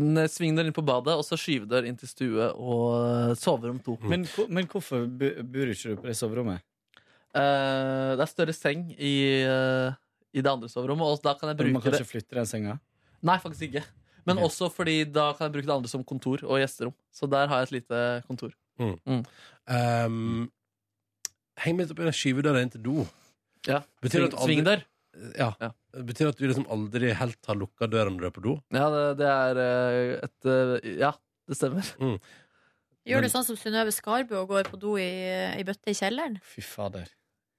D: N- Svingdør inn på badet, og så skyvedør inn til stue og øh, soverom to.
B: Mm.
I: Men, hvor- men hvorfor bu- bor ikke du på det soverommet?
D: Eh, det er større seng i, øh, i det andre soverommet, og da kan jeg
I: Eller Man
D: bruke
I: kan
D: det
I: ikke flytte den senga?
D: Nei, faktisk ikke. Men
I: Ok.
D: også fordi da kan jeg bruke det andre som kontor og gjesterom. Så der har jeg et lite kontor.
B: Um, heng meg litt opp i den skyvedøra inn til do.
D: Ja.
B: Betyr det at
D: Sving-
B: aldri-
D: Svingdør.
B: Ja.
D: Ja.
B: Betyr det at du liksom aldri helt har lukka døra når du er på do?
D: Ja, det, det er øh, et øh, Ja, det stemmer.
C: Gjør du sånn som Synnøve Skarbø og går på do i, i bøtte i kjelleren?
I: Fy fader.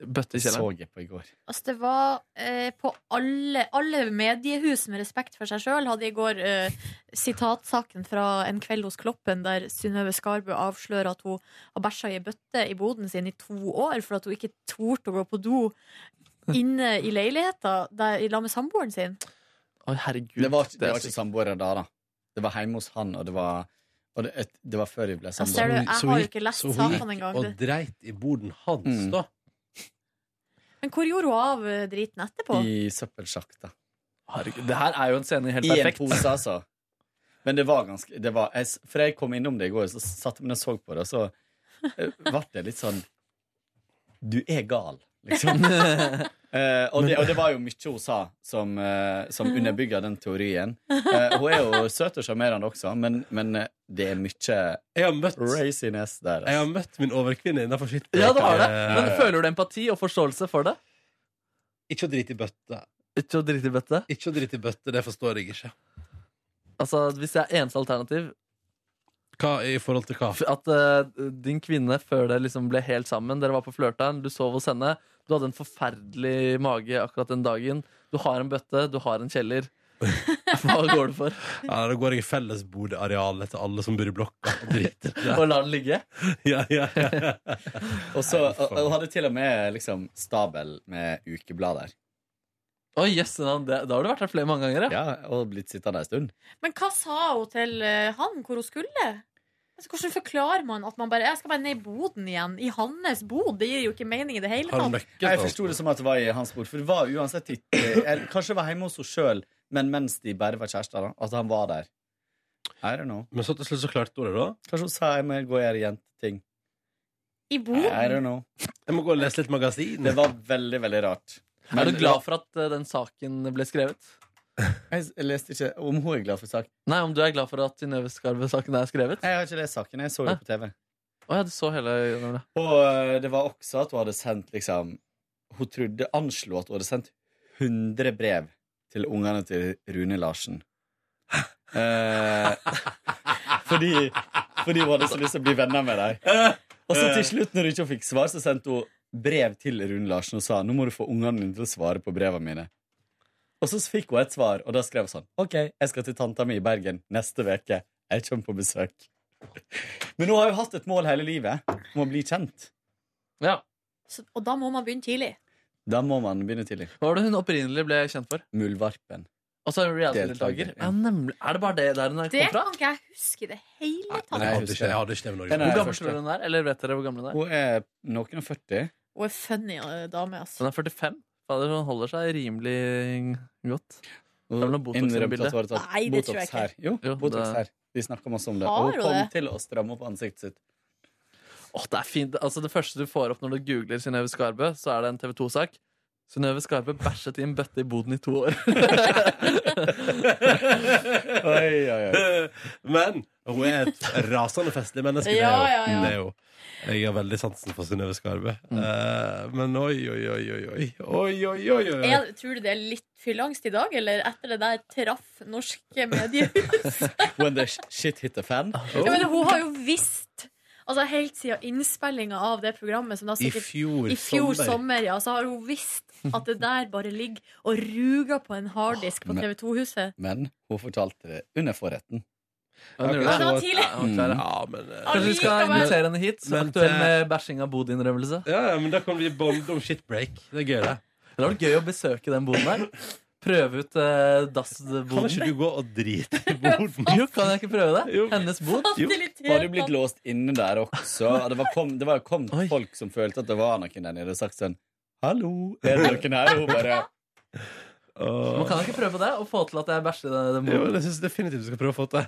D: bøtte i
I: Det så
D: kjelleren.
I: jeg på i går.
C: Altså, det var eh, på alle, alle mediehus med respekt for seg sjøl hadde i går eh, sitatsaken fra En kveld hos Kloppen, der Synnøve Skarbø avslører at hun har bæsja i ei bøtte i boden sin i to år for at hun ikke torde å gå på do inne i leiligheta der- i lag med samboeren sin.
D: Oi, herregud.
I: Det var, det
D: er
I: var ikke
D: sykt.
I: samboere da, da. Det var hjemme hos han, og det var, og det, det var før vi
C: Ja,
I: ble
C: ser du,
I: samboere.
C: jeg
B: Så
C: har
B: hun
C: jo ikke lest
B: så hun
C: sakene engang.
B: Og dreit i boden hans,
I: Mm.
B: da.
C: Men hvor gjorde hun av eh, driten etterpå?
I: I søppelsjakta.
D: Herregud. Det her er jo en scene i helt
I: I en
D: perfekt.
I: pose, altså. Men det var ganske det var, jeg, For jeg kom innom det i går, så satt men jeg så på det, og så eh, ble det litt sånn Du er gal, liksom. Eh, og, det, og det var jo mye hun sa som, uh, som underbygger den teorien. Eh, hun er jo søt og sjarmerende også, men, men eh, det er mye
B: Jeg har møtt,
I: raciness der. altså.
B: jeg har møtt min overkvinne innafor sitt
D: Ja, det har det. Men
B: Eh,
D: føler du empati og forståelse for det?
B: Ikke å drite i bøtte.
D: Ikke å drite i bøtte.
B: Ikke å drite i bøtte, det forstår jeg ikke.
D: Altså, Hvis det er eneste alternativ,
B: Hva i forhold til hva?
D: f- at eh, din kvinne før det liksom ble helt sammen Dere var på flørteren, du sov hos henne. Du hadde en forferdelig mage akkurat den dagen. Du har en bøtte, du har en kjeller. Hva går du for?
B: Ja, Da går jeg i fellesbodearealet til alle som bor i blokka. og Driter.
D: Og lar den ligge?
B: Ja, ja, ja.
I: Og så og- og hun hadde til og med liksom stabel med ukeblader.
D: Oi, jøsse navn, det- Da har du vært her flere mange ganger, ja.
I: Ja, og blitt sittende en stund.
C: Men hva sa hun til eh, han hvor hun skulle? Altså, hvordan forklarer man at man bare Jeg skal bare ned i boden igjen? I hans bod? Det gir jo ikke mening i det hele
B: Har du
C: tatt.
B: nøkkel?
I: Jeg forsto det som at det var i hans bord. For det var uansett i- eller Kanskje det var hjemme hos henne sjøl, men mens de bare var kjærester. da At han var der. I don't know.
B: Men så til slutt så klarte hun det, da.
I: Kanskje hun sa jeg må gå og gjøre jenteting.
C: I
I: I
C: boden?
I: don't know.
B: Jeg må gå og lese litt magasin.
I: Det var veldig, veldig rart.
D: Er du glad for at eh, den saken ble skrevet?
I: Jeg s- jeg leste ikke om hun er glad for sak.
D: Nei, om du er glad for at Synnøve Skarve-saken er skrevet?
I: Nei, Jeg har ikke lest saken. Jeg så det på TV.
D: Å ja, du så hele
I: Og eh, det var også at hun hadde sendt liksom Hun trodde, anslo at hun hadde sendt 100 brev til ungene til Rune Larsen. Eh, fordi, fordi hun hadde så lyst til å bli venner med dem. Og så til slutt, når hun ikke fikk svar, så sendte hun brev til Rune Larsen og sa nå må du få ungene dine til å svare på brevene mine. Og så fikk hun et svar, og da skrev hun sånn OK, jeg skal til tanta mi i Bergen neste uke. Jeg kommer på besøk. Men hun har jo hatt et mål hele livet om å bli kjent.
D: Ja.
C: Så, og da må man begynne tidlig.
I: Da må man begynne tidlig.
D: Hva var det hun opprinnelig ble kjent for?
I: Muldvarpen.
D: Altså en reality-deltaker.
I: Deltaker,
D: Ja, nemlig. Er det bare det der hun er
C: Det
D: kom fra?
C: kan ikke jeg huske i det hele
B: Men
C: tatt.
B: jeg hadde ikke, jeg hadde ikke det med
I: Den
B: Norge.
I: er
D: Hvor gammel
I: første.
D: tror du hun er? Eller vet dere hvor gammel hun er?
I: Hun er noen og 40.
C: Hun er funny eh, dame, altså.
D: Hun er 45. Fader, hun holder seg rimelig godt.
I: Hun
D: Det er vel noe Botox i det
I: innrømte
D: bildet.
I: at hun hadde tatt
C: Nei, det tror jeg
I: Botox
C: ikke.
I: her. Jo,
D: Jo,
I: Botox
D: det-
I: her. Vi snakka masse om det.
C: Har
I: Og hun
C: hun
I: kom
C: det?
I: til å stramme opp ansiktet sitt.
D: Åh, det er fint. Altså, det første du får opp når du googler Synnøve Skarbø, så er det en TV 2-sak. Synnøve Skarbø bæsjet i en bøtte i boden i to år.
I: Oi, oi, oi.
B: Men hun er et rasende festlig menneske. det er
C: Ja,
B: hun.
C: ja, Mm. ja.
B: Det er hun. Jeg har veldig sansen for Synnøve Skarve. Eh, men oi, oi, oi, oi, oi. Oi, oi, oi, oi, oi.
C: Er, tror du det er litt fylleangst i dag, eller etter det der traff norske medier?
I: When the shit hit the fan.
C: Ja, men hun har jo visst Altså Helt siden innspillinga av det programmet, som da
B: I
C: sikkert
B: fjor,
C: I fjor sommer,
B: sommer.
C: ja, så har hun visst at det der bare ligger og ruger på en harddisk på
I: Men-
C: TV 2-huset.
I: Men hun fortalte det under forretten.
D: Hun
B: Ok.
D: gjorde
C: Men
D: det.
C: det var tidlig!
D: Ja, hun klarer det.
B: Ja, men eh,
D: Kanskje vi skal
C: Allikevel.
D: invitere henne hit, så
B: Men eh,
D: aktuell
B: det-
D: med bæsjing av bod-innrømmelse.
B: ja, ja, men da kan vi bonde om shitbreak. Det er gøy, det.
D: Det hadde vært gøy å besøke den boden der. Prøve ut eh,
B: Kan
D: dass-boden.
B: ikke du gå og drite i boden?
D: Jo, kan jeg ikke prøve det?
B: Jo.
D: Hennes bod.
I: Jo,
C: Fasiliteter.
I: var du blitt låst inne der også? Og Det var, kom, det var jo kommet
D: Oi.
I: folk som følte at det var noen der nede, og sagt sånn Hallo, er det noen her? Og hun bare
D: Man
B: Eh, Åh.
D: kan ikke prøve det og få til at jeg bæsjer i den
B: Jo,
D: boden.
B: jeg syns definitivt vi skal prøve å få til.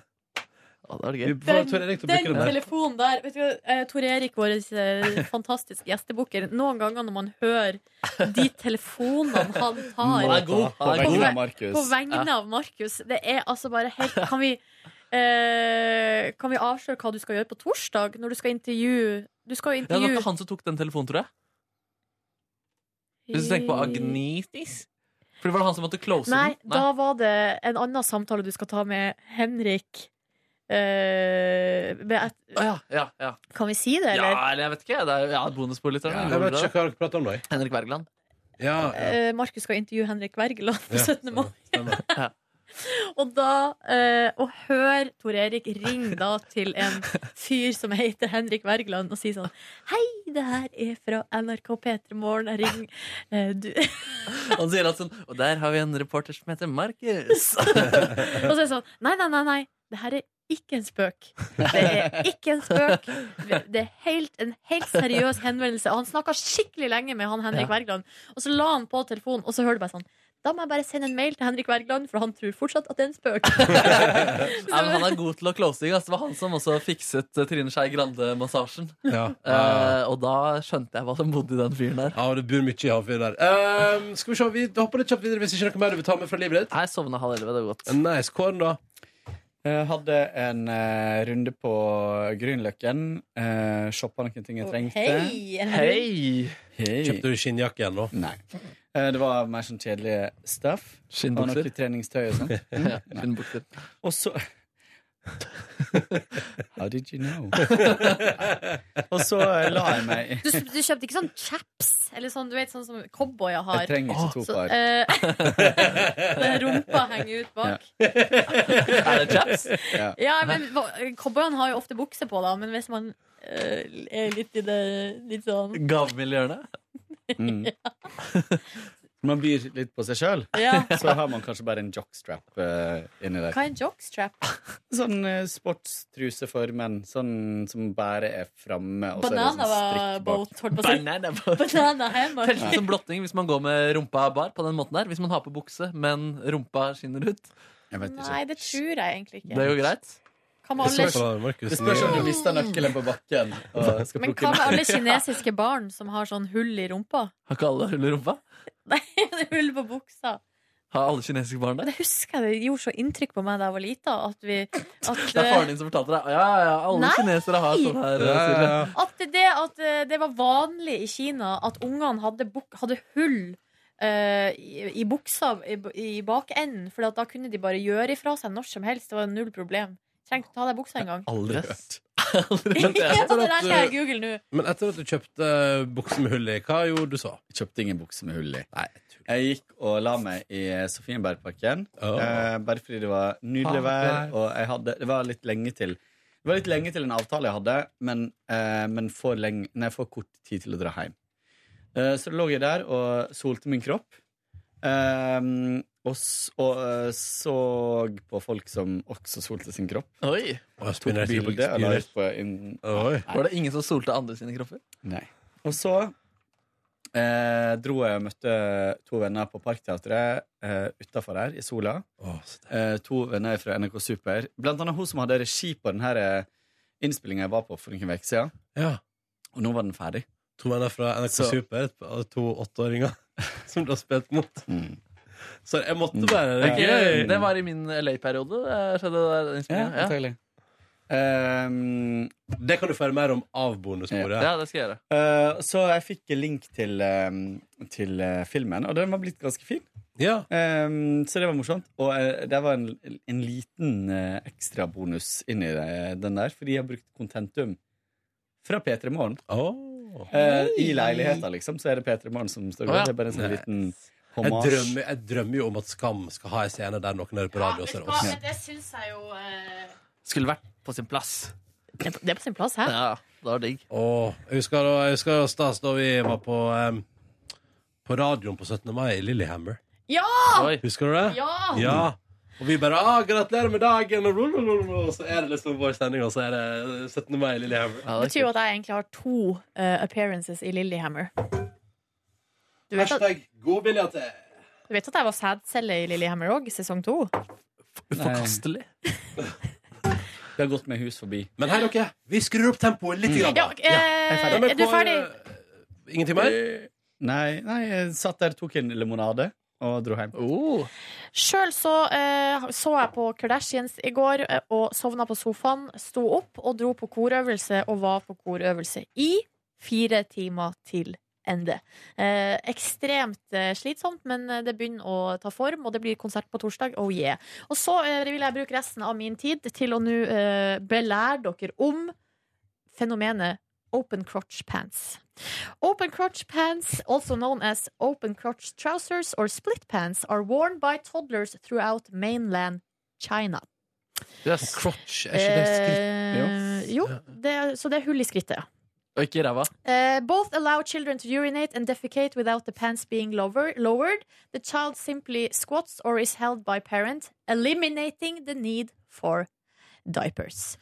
D: Å, det var
B: Vi
D: gøy.
B: får Tor Erik til å bruke den
C: den
B: der.
C: telefonen der vet du, hva, eh, Tor Erik, vår eh, fantastiske gjestebukker Noen ganger når man hører de telefonene
D: Han
C: han tar
D: er god.
I: På
D: Han er
I: vegne
D: god.
I: av
C: på
I: Markus.
C: vegne av Markus Det er altså bare helt Kan vi, eh, kan vi avsløre hva du skal gjøre på torsdag når du skal intervjue Du skal jo
D: Ja, det var
C: intervjue
D: ikke han som tok den telefonen, tror jeg. Hvis du tenker på Agnitis. For det var han som måtte close
C: Nei,
D: den. Nei.
C: da var det en annen samtale du skal ta med Henrik eh, men jeg-
D: Å, ja, ja, ja.
C: Kan vi si det,
D: ja,
C: eller?
D: eller jeg vet ikke. Det er, ja, liksom. bonuspolitikerne.
B: Jeg vet ikke hva dere prater om, da. jeg.
D: Henrik Wergeland.
B: Ja, ja.
C: Eh, Markus skal intervjue Henrik Wergeland på
B: Ja,
C: 17. mai.
B: stemmer.
C: Og da eh, å høre Tor Erik ringe da til en fyr som heter Henrik Wergeland, og si sånn Hei, det her er fra NRK P3 Morgen. Jeg ringer eh, du
D: Han sier at sånn Og der har vi en reporter som heter Markus.
C: Og så er det sånn Nei, nei, nei, nei. Det her er ikke en spøk. Det er ikke en spøk. Det er helt, en helt seriøs henvendelse. Og han snakka skikkelig lenge med han Henrik
D: Ja.
C: Wergeland. Og så la han på telefonen, og så hører du bare sånn Da må jeg bare sende en mail til Henrik Wergeland, for han tror fortsatt at det er en spøk.
D: Nei, men han er god til å closing. Altså. Det var han som også fikset eh, Trine Skei Grande-massasjen.
B: Ja.
D: Eh,
B: Ja.
D: og da skjønte jeg hva som bodde i den fyren der.
B: Ja, og det bor mye i han fyren der. Ehm, skal vi se, vi hopper litt kjapt videre hvis ikke noe mer du vil ta med fra livet ditt.
D: Nei, sovna halv elleve. Det er godt.
B: Nice korn, da.
I: Jeg hadde en eh, runde på Grünerløkken. Uh, Shoppa noen ting jeg trengte.
C: Hei! en hund.
D: Hei!
I: Hei.
B: Kjøpte du skinnjakke igjen nå?
I: Nei. Eh, det var mer sånn kjedelig stuff. Og
D: Skinnbukser.
I: noe treningstøy og sånn.
D: Ja, skinnbukser.
I: Og så How did you know? og så eh, la jeg meg
C: Du, du kjøpte ikke sånn chaps, eller sånn du vet, sånn som cowboyer
I: Jeg
C: har?
I: trenger ikke to
C: Så,
I: par.
C: eh, den rumpa henger ut bak.
D: Er det chaps?
C: Ja, men hva- Cowboyene har jo ofte bukse på, da, men hvis man eh, er litt i det litt sånn
D: Gavmildhjørnet?
I: Mm. Man byr litt på seg sjøl,
C: ja.
I: Mm. så har man kanskje bare en jockstrap eh, inni der.
C: Hva er en jockstrap?
I: Sånn eh, sportstruse for menn, sånn som bare er framme. og så er det
C: Banana
I: sånn
C: var
I: strikk bak.
C: boat, holdt på å si.
D: Banana boat.
C: Banana hammer.
D: Telt som blotting hvis man går med rumpa bar på den måten der. Hvis man har på bukse, men rumpa skinner ut.
I: Jeg vet ikke.
C: Nei, det tror jeg egentlig
D: Det er
C: ikke.
D: jo greit.
C: Hva med
B: Det
C: alle,
B: spørs- Markus.
I: Det spørs om du mister nøkkelen på bakken. Og skal
C: men
I: plukke
C: hva med
I: den.
C: alle kinesiske barn som har sånn hull i rumpa?
D: Har ikke alle hull i rumpa?
C: hull på buksa.
D: Har alle kinesiske barn
C: Men
D: det?
C: det husker jeg det gjorde så inntrykk på meg da jeg var lita, at vi at,
D: Det er faren din som fortalte deg. Ja, ja, ja, alle
C: Nei!
D: kinesere har sånn her.
B: Ja, ja,
D: Silje.
B: ja.
C: At det, det, at eh, det var vanlig i Kina at ungene hadde, buk- hadde hull eh, i, i buksa i, b- i bakenden, for da kunne de bare gjøre ifra seg når som helst. Det var null problem. Trengte å ta av deg buksa en gang.
I: Aldri
D: Yes.
I: hørt.
D: Aldri
C: ja,
D: hørt det.
C: det der skal jeg google nå.
B: Men etter at du kjøpte eh, bukse med hull i, hva gjorde du så?
I: Jeg kjøpte ingen bukse med hull i.
B: Nei,
I: Jeg gikk og la meg i Sofienbergparken.
B: Åh.
I: Eh, bare fordi det var nydelig vær, og jeg hadde, det var litt lenge til Det var litt lenge til en avtale jeg hadde, men, eh, men for, lenge, nei, for kort tid til å dra hjem. Eh, så lå jeg der og solte min kropp. Eh, og s- og eh, så på folk som også solte sin kropp.
D: Oi.
B: Åh, jeg
I: Tok
B: spinner sikkert på-
I: bilde og la ut på in-
B: Oi.
D: Var det ingen som solte andre sine kropper?
I: Nei. Og så eh, dro jeg og møtte to venner på Parkteatret eh, utafor her, i sola.
B: Åh, så det-
I: Eh, to venner fra NRK Super. Blant annet hun som hadde regi på den her eh, innspillinga jeg var på for noen uker siden.
B: Ja.
I: Og nå var den ferdig.
B: To menn er fra NRK
I: Så-
B: Super, et- og to åtteåringer som du har spilt mot.
I: Mm.
B: Så jeg måtte bare Det er
D: Ikke-
B: gøy.
D: Det var i min LA-periode. eh, Skjedde det der innspillingen? Ja,
I: antagelig. Ehm,
B: Det kan du få høre mer om av bonusbordet.
D: ja, det skal jeg gjøre.
I: eh, så jeg fikk link til, ehm, til eh, filmen, og den var blitt ganske fin.
B: Ja.
I: Ehm, så det var morsomt. Og eh, det var en, en liten eh, ekstra bonus inni det, den der, fordi jeg har brukt kontentum fra P3 Morgen.
B: Åh.
I: Eh, I leiligheta, liksom, så er det P3 Morgen som står
D: Å, ja.
I: Det er bare en sånn liten
B: Jeg
I: hommage.
B: drømmer, jeg drømmer jo om at Skam skal ha en scene der noen hører på radio og ser oss.
C: det syns jeg jo eh,
D: Skulle vært på sin plass.
C: det, er på, det er på sin plass, hæ?
D: Ja, det var digg.
B: Åh, jeg husker, da, jeg husker da stas da vi var på, em, på radioen på 17. mai i Lillehammer.
C: Ja!
D: Oi.
B: Husker du det?
C: Ja!
B: Ja. Og vi bare ah, 'gratulerer med dagen', og, rull, rull, rull, og så er det liksom vår sending, og så er det 17. mai i Lillehammer.
D: Ja,
C: Det
D: det
C: betyr
D: er
C: jo
D: kult.
C: at jeg egentlig har to eh, appearances i Lillehammer. Du vet, at,
B: Hashtag godvilje til
C: du vet at jeg var sædcelle i Lillehammer òg, sesong to?
D: Uforkastelig.
I: Det har gått meg hus forbi.
B: Men hei, dere. Vi skrur opp tempoet litt. Grann,
C: Ja,
B: da.
C: eh,
B: Nei, men
C: er du
B: på,
C: ferdig?
B: eh, Ingenting mer?
I: Nei, nei, jeg satt der, tok en limonade og dro hjem.
D: Oh.
C: Sjøl så, eh, så jeg på Kardashians i går eh, og sovna på sofaen, sto opp og dro på korøvelse og var på korøvelse i fire timer til enn det. Eh, ekstremt eh, slitsomt, men eh, det begynner å ta form, og det blir konsert på torsdag. Oh yeah. Og så eh, vil jeg bruke resten av min tid til å nå eh, belære dere om fenomenet open crotch pants. Open crotch pants, also known as open crotch trousers or split pants, are worn by toddlers throughout mainland China.
D: Yes.
B: Crotch, er ikke det skritt?
C: Eh, jo, det, er- så det er hull i skrittet. ja.
D: Og ikke i ræva.
C: Eh, both allow children to urinate and defecate without the pants being lower, lowered. The child simply squats or is held by parent, eliminating the need for diapers.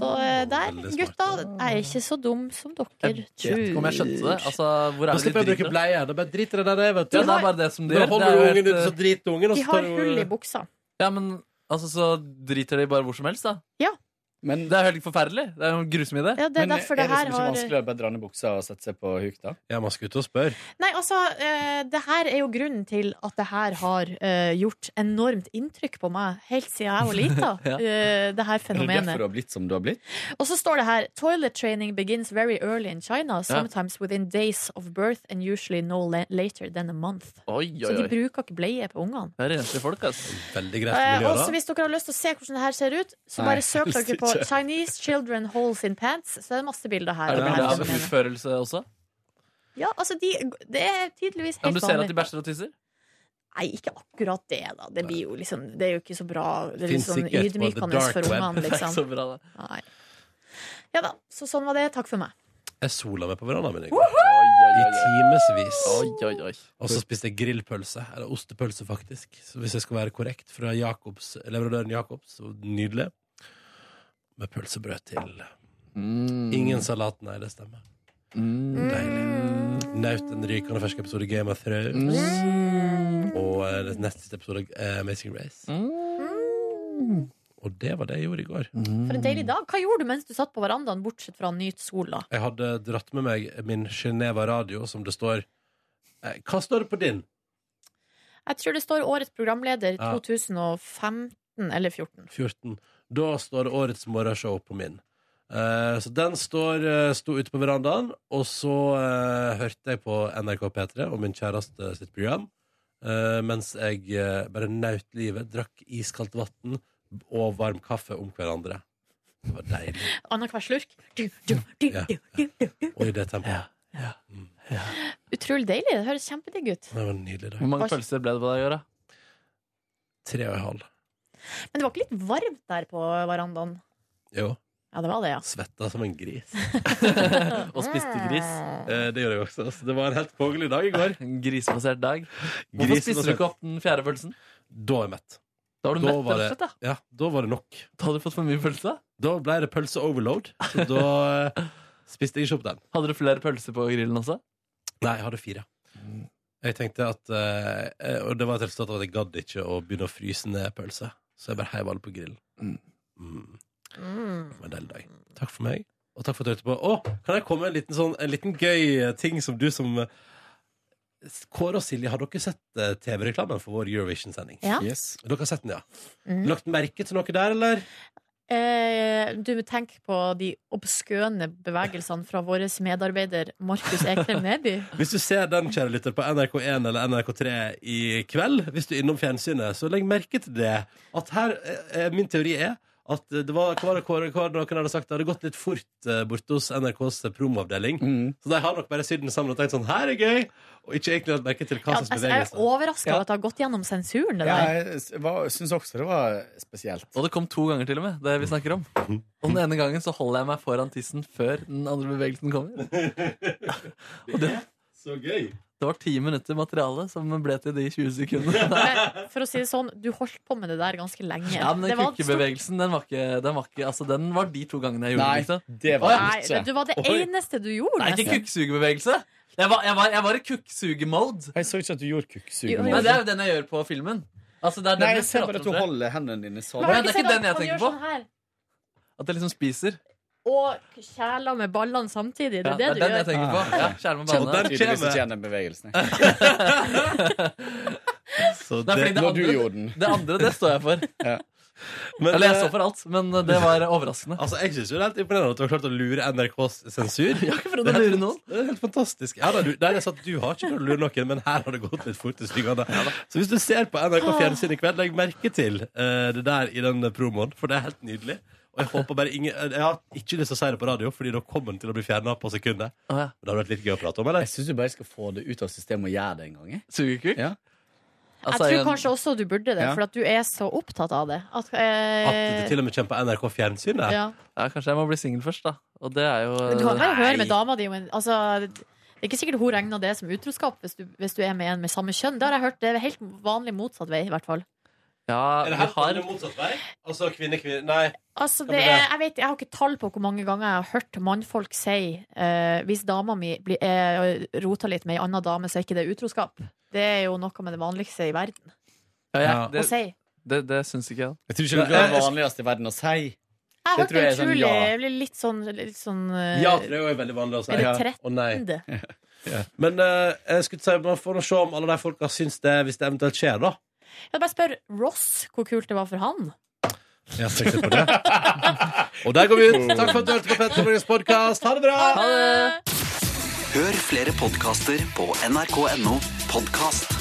C: så eh, der,
B: veldig smart.
C: gutta, er ikke så dum som dere tror.
D: Om jeg skjønte det. Altså, hvor er
B: Da
D: det
B: slipper
D: de
B: jeg å
D: driter?
B: bruke
D: Ja,
B: bleie. Da bare driter jeg der, jeg, vet
D: det
B: du.
D: er bare det som de
B: Da
D: gjør. Det er
B: holder du
D: jo
B: ungen
D: helt,
B: ute, så
D: eh,
B: driter ungen, og
C: De
B: så
C: har
B: tar hun
C: hull i buksa.
D: Ja, men altså, så driter de bare hvor som helst, da.
I: Men,
D: Det er jo helt forferdelig. Det er jo en grusom idé.
C: Ja, det er
I: men
C: derfor det
I: er det
C: her
I: liksom ikke
C: har
I: vanskelig å bare dra ned buksa og sette seg på huk, da?
B: Ja, man skal ut og spørre.
C: Nei, altså, eh, det her er jo grunnen til at det her har eh, gjort enormt inntrykk på meg helt siden jeg var lita,
D: Ja.
C: eh, det her
I: Er det derfor
C: fenomenet.
I: du har blitt som du har blitt?
C: Og så står det her Toilet training begins very early in China, sometimes within days of birth and usually no la later than a month.
D: Oi,
C: Så
D: oi,
C: de
D: oi.
C: bruker ikke bleie på ungene.
D: Det er renslige folk, altså.
B: Veldig greit
C: Eh,
B: miljø,
C: også
B: da.
C: hvis dere har lyst til å se hvordan det her ser ut, så
I: Nei,
C: bare søk
I: helst
C: dere på
I: ikke.
C: 'Chinese children holes in pants', så er det masse bilder her.
D: Er det
C: av det
D: bilde
C: her
D: av
C: fenomenet.
D: utførelse også?
C: ja, altså, de, det er tydeligvis
D: Ja, men
C: helt
D: du ser at de
C: vanlig.
D: bæsjer og tisser?
C: Nei, ikke akkurat det, da. Det, blir jo liksom, det er jo ikke så bra. Det er litt
B: Finns
C: sånn
B: sikkert på the
C: ydmykende
B: dark
C: for
B: web.
C: ungene,
D: Det er
C: liksom.
D: så bra, det.
C: Nei. Ja da. Så sånn var det. Takk for meg.
B: Jeg sola meg på verandaen min i går. I
D: Oi,
B: timevis.
D: oi, oi. oi, oi.
B: Og så spiste jeg grillpølse. Eller ostepølse, faktisk. Så hvis jeg skal være korrekt, fra Jacobs, leverandøren Jacobs. Så nydelig. Med pølsebrød til.
D: Mm.
B: Ingen salat, nei, det stemmer. Deilig. Naut en rykende fersk episode av Game of
C: Mm.
B: Thrones.
D: Mm.
B: Og eh, neste siste episode av eh, Amazing Race.
D: Mm.
B: Og det var det jeg gjorde i
D: Mm.
B: går.
C: For en deilig dag. Hva gjorde du mens du satt på verandaen, bortsett fra å nyte sola?
B: Jeg hadde dratt med meg min Geneva radio, som det står eh, Hva står det på din?
C: Jeg tror det står årets programleder
B: Ja.
C: 2015 eller 14.
B: 14. Da står det årets morgenshow på min. Eh, så den står, eh, sto ute på verandaen, og så eh, hørte jeg på NRK P3 og min kjæreste sitt program. eh, mens jeg eh, bare nøt livet, drakk iskaldt vann og varm kaffe om hverandre. Det var deilig.
C: Annenhver slurk. Du, du, du,
B: Ja.
C: du, du, du, du.
B: Og i det tempoet.
C: Utrolig deilig. Det høres kjempedigg ut.
B: Det var en nydelig dag.
D: Hvor mange pølser ble det på deg i år, da?
B: Tre og en halv.
C: Men det var ikke litt varmt der på verandaen?
B: Jo.
C: Ja, det var det, ja.
B: Svetta som en gris.
D: Og spiste gris.
B: Eh, det gjorde jeg også. Så det var en helt kongelig dag i går.
D: En grisbasert dag. Hvorfor
B: Grisen
D: spiste
B: var
D: du ikke opp den fjerde pølsen?
B: Da er jeg mett.
D: Da var du
B: Da
D: mett, rett og
B: var det-
D: slett. Da.
B: Ja, da var det nok.
D: da hadde du fått for mye pølse.
B: Da ble det pølse overload, så da eh, spiste jeg ikke opp den.
D: Hadde du flere pølser på grillen også?
B: Nei, jeg hadde fire. Jeg tenkte at eh, Og det var et resultat av at jeg gadd ikke å begynne å fryse ned pølse. Så jeg bare heiv alle på grillen.
D: Mm.
B: Mm,
C: Mm.
B: det var en deilig dag. Takk for meg, og takk for at du hørte på. Å, kan jeg komme med en liten, sånn, en liten gøy eh, ting som du som eh, Kåre og Silje, har dere sett eh, TV-reklamen for vår Eurovision-sending?
C: Ja.
I: Yes.
B: Dere har sett den, ja?
C: Mm.
B: Lagt merke til noe der, eller?
C: Eh, du tenker på de obskøne bevegelsene fra vår medarbeider Markus Ekrem Neby?
B: Hvis du ser den, kjære lytter, på NRK1 eller NRK3 i kveld, hvis du er innom fjernsynet, så legg merke til det. At her, eh, Min teori er at det var, hva var det, Kåre- hva var det noen hadde sagt, det hadde gått litt fort eh, borte hos NRKs promoavdeling.
I: Mm.
B: Så de har nok bare sydd den sammen og tenkt sånn Her er gøy! Og ikke egentlig lagt merke til hva
C: Ja,
B: slags
C: altså, jeg er
B: bevegelse.
C: overraska
I: Ja.
C: over at det har gått gjennom sensuren, det
I: Ja,
C: der.
I: jeg s- var- syns også det var spesielt.
D: Og det kom to ganger til og med, det vi snakker om. Og den ene gangen så holder jeg meg foran tissen før den andre bevegelsen kommer. Og det,
B: Så gøy!
D: det var ti minutter materiale som ble til de 20 sekundene.
C: Men for å si det sånn, du holdt på med det der ganske lenge.
D: Ja, men
C: Det
D: den
C: var et stort-
D: kukkebevegelsen, den var ikke, den var ikke Altså, den var de to gangene jeg gjorde
I: Nei,
D: den. Liksom.
I: det var
C: Nei,
I: det
C: det
I: ikke.
C: var det
B: Oi.
C: eneste du gjorde.
D: Nei, ikke
C: nesten.
D: kukksugebevegelse. Jeg var, jeg var, jeg var i kukksugemode.
I: Jeg så ikke at du gjorde
C: Jo,
I: kukksugemål.
D: Nei, det er jo den jeg gjør på filmen. Altså, det er den
I: Nei,
D: jeg
I: jeg ser
D: prater
I: bare at
D: om
I: du
D: det.
I: holder hendene dine
C: Men
I: sånn.
C: har
D: Nei,
C: du
D: det er
C: sett
D: ikke
C: at
D: den jeg
C: han
D: tenker
C: gjør
D: på.
C: sånn her,
D: At jeg liksom spiser.
C: Og kjæler med ballene samtidig. Det
D: Ja,
C: er
D: det er
C: det du
D: den jeg
C: gjør.
D: tenker på.
I: Ah.
D: Ja, skjære med
B: Så den-
D: ballene.
I: Tydeligvis ikke gjennom bevegelsen.
B: Så
D: Nei, fordi
B: det,
D: det
I: Når du
D: andre,
I: gjorde den.
D: det andre, det står jeg for.
B: Men,
D: Eller jeg
B: eh,
D: så for alt, men det var overraskende.
B: Altså, jeg synes jo det er helt imponerende at du har klart å lure NRKs sensur.
D: Jeg har ikke prøvd å lure noen.
B: Det er helt fantastisk. Ja, da, du, nei, det er sant, du har ikke klart å lure noen, men her har det gått litt fort i styggene. Så hvis du ser på NRK Fjernsyn i kveld, legg merke til eh, det der i den promoen, for det er helt nydelig. Og jeg håper bare ingen Jeg har ikke lyst til å si det på radio, Fordi da kommer den til å bli fjerna på sekundet.
D: Å, ja.
B: Det hadde vært litt gøy å prate om, eller?
I: Jeg syns du bare skal få det ut av systemet og gjøre det en gang. jeg.
D: Sugekuk?
I: Ja.
C: Jeg
D: Altså,
C: tror kanskje også du burde det,
I: Ja.
C: for at du er så opptatt av det. At,
B: At det
C: eh,
B: til og med kommer på NRK Fjernsyn? det.
C: ja.
D: ja, kanskje jeg må bli singel først, da. Og det er jo
C: Men du kan
D: eh,
C: bare høre med
I: Nei.
C: dama di om en altså, Det er ikke sikkert hun regner det som utroskap hvis du, hvis du er med en med samme kjønn. Det har jeg hørt, det er helt vanlig motsatt vei, i hvert fall.
D: Ja, vi
B: Er det helt
D: har
B: eller motsatt vei? Altså kvinne, kvinne Nei.
C: Altså,
B: Hva
C: det
B: blir
C: er,
B: det?
C: jeg, vet, jeg har ikke tall på hvor mange ganger jeg har hørt mannfolk si eh, hvis dama mi blir, eh, roter litt med ei anna dame, så er ikke det utroskap. Det er jo noe med det vanligste i verden
D: ja, jeg,
B: Ja.
D: Det,
C: å si.
D: det, det syns ikke jeg.
B: Jeg tror
I: Det
B: ikke
I: er det vanligste i verden å si.
C: Jeg
I: Det
C: hørte
I: tror jeg er sånn
C: utrolig
I: ja.
C: Jeg blir litt sånn, litt sånn eh,
B: Ja, for det er jo veldig vanlig å si.
C: Er det
B: Ja.
C: 13?
B: Å, nei.
C: det.
B: Men eh, jeg skulle si, man får nå se om alle de folka syns det, hvis det eventuelt skjer, da.
C: Jeg bare spør Ross hvor kult det var for han.
B: Ja, tenk på det. Og der går vi ut. Takk for at du hørte på Petter Morgens podkast. Ha det bra!
C: Ha det!
J: Hør flere podkaster på nrk.no podkast.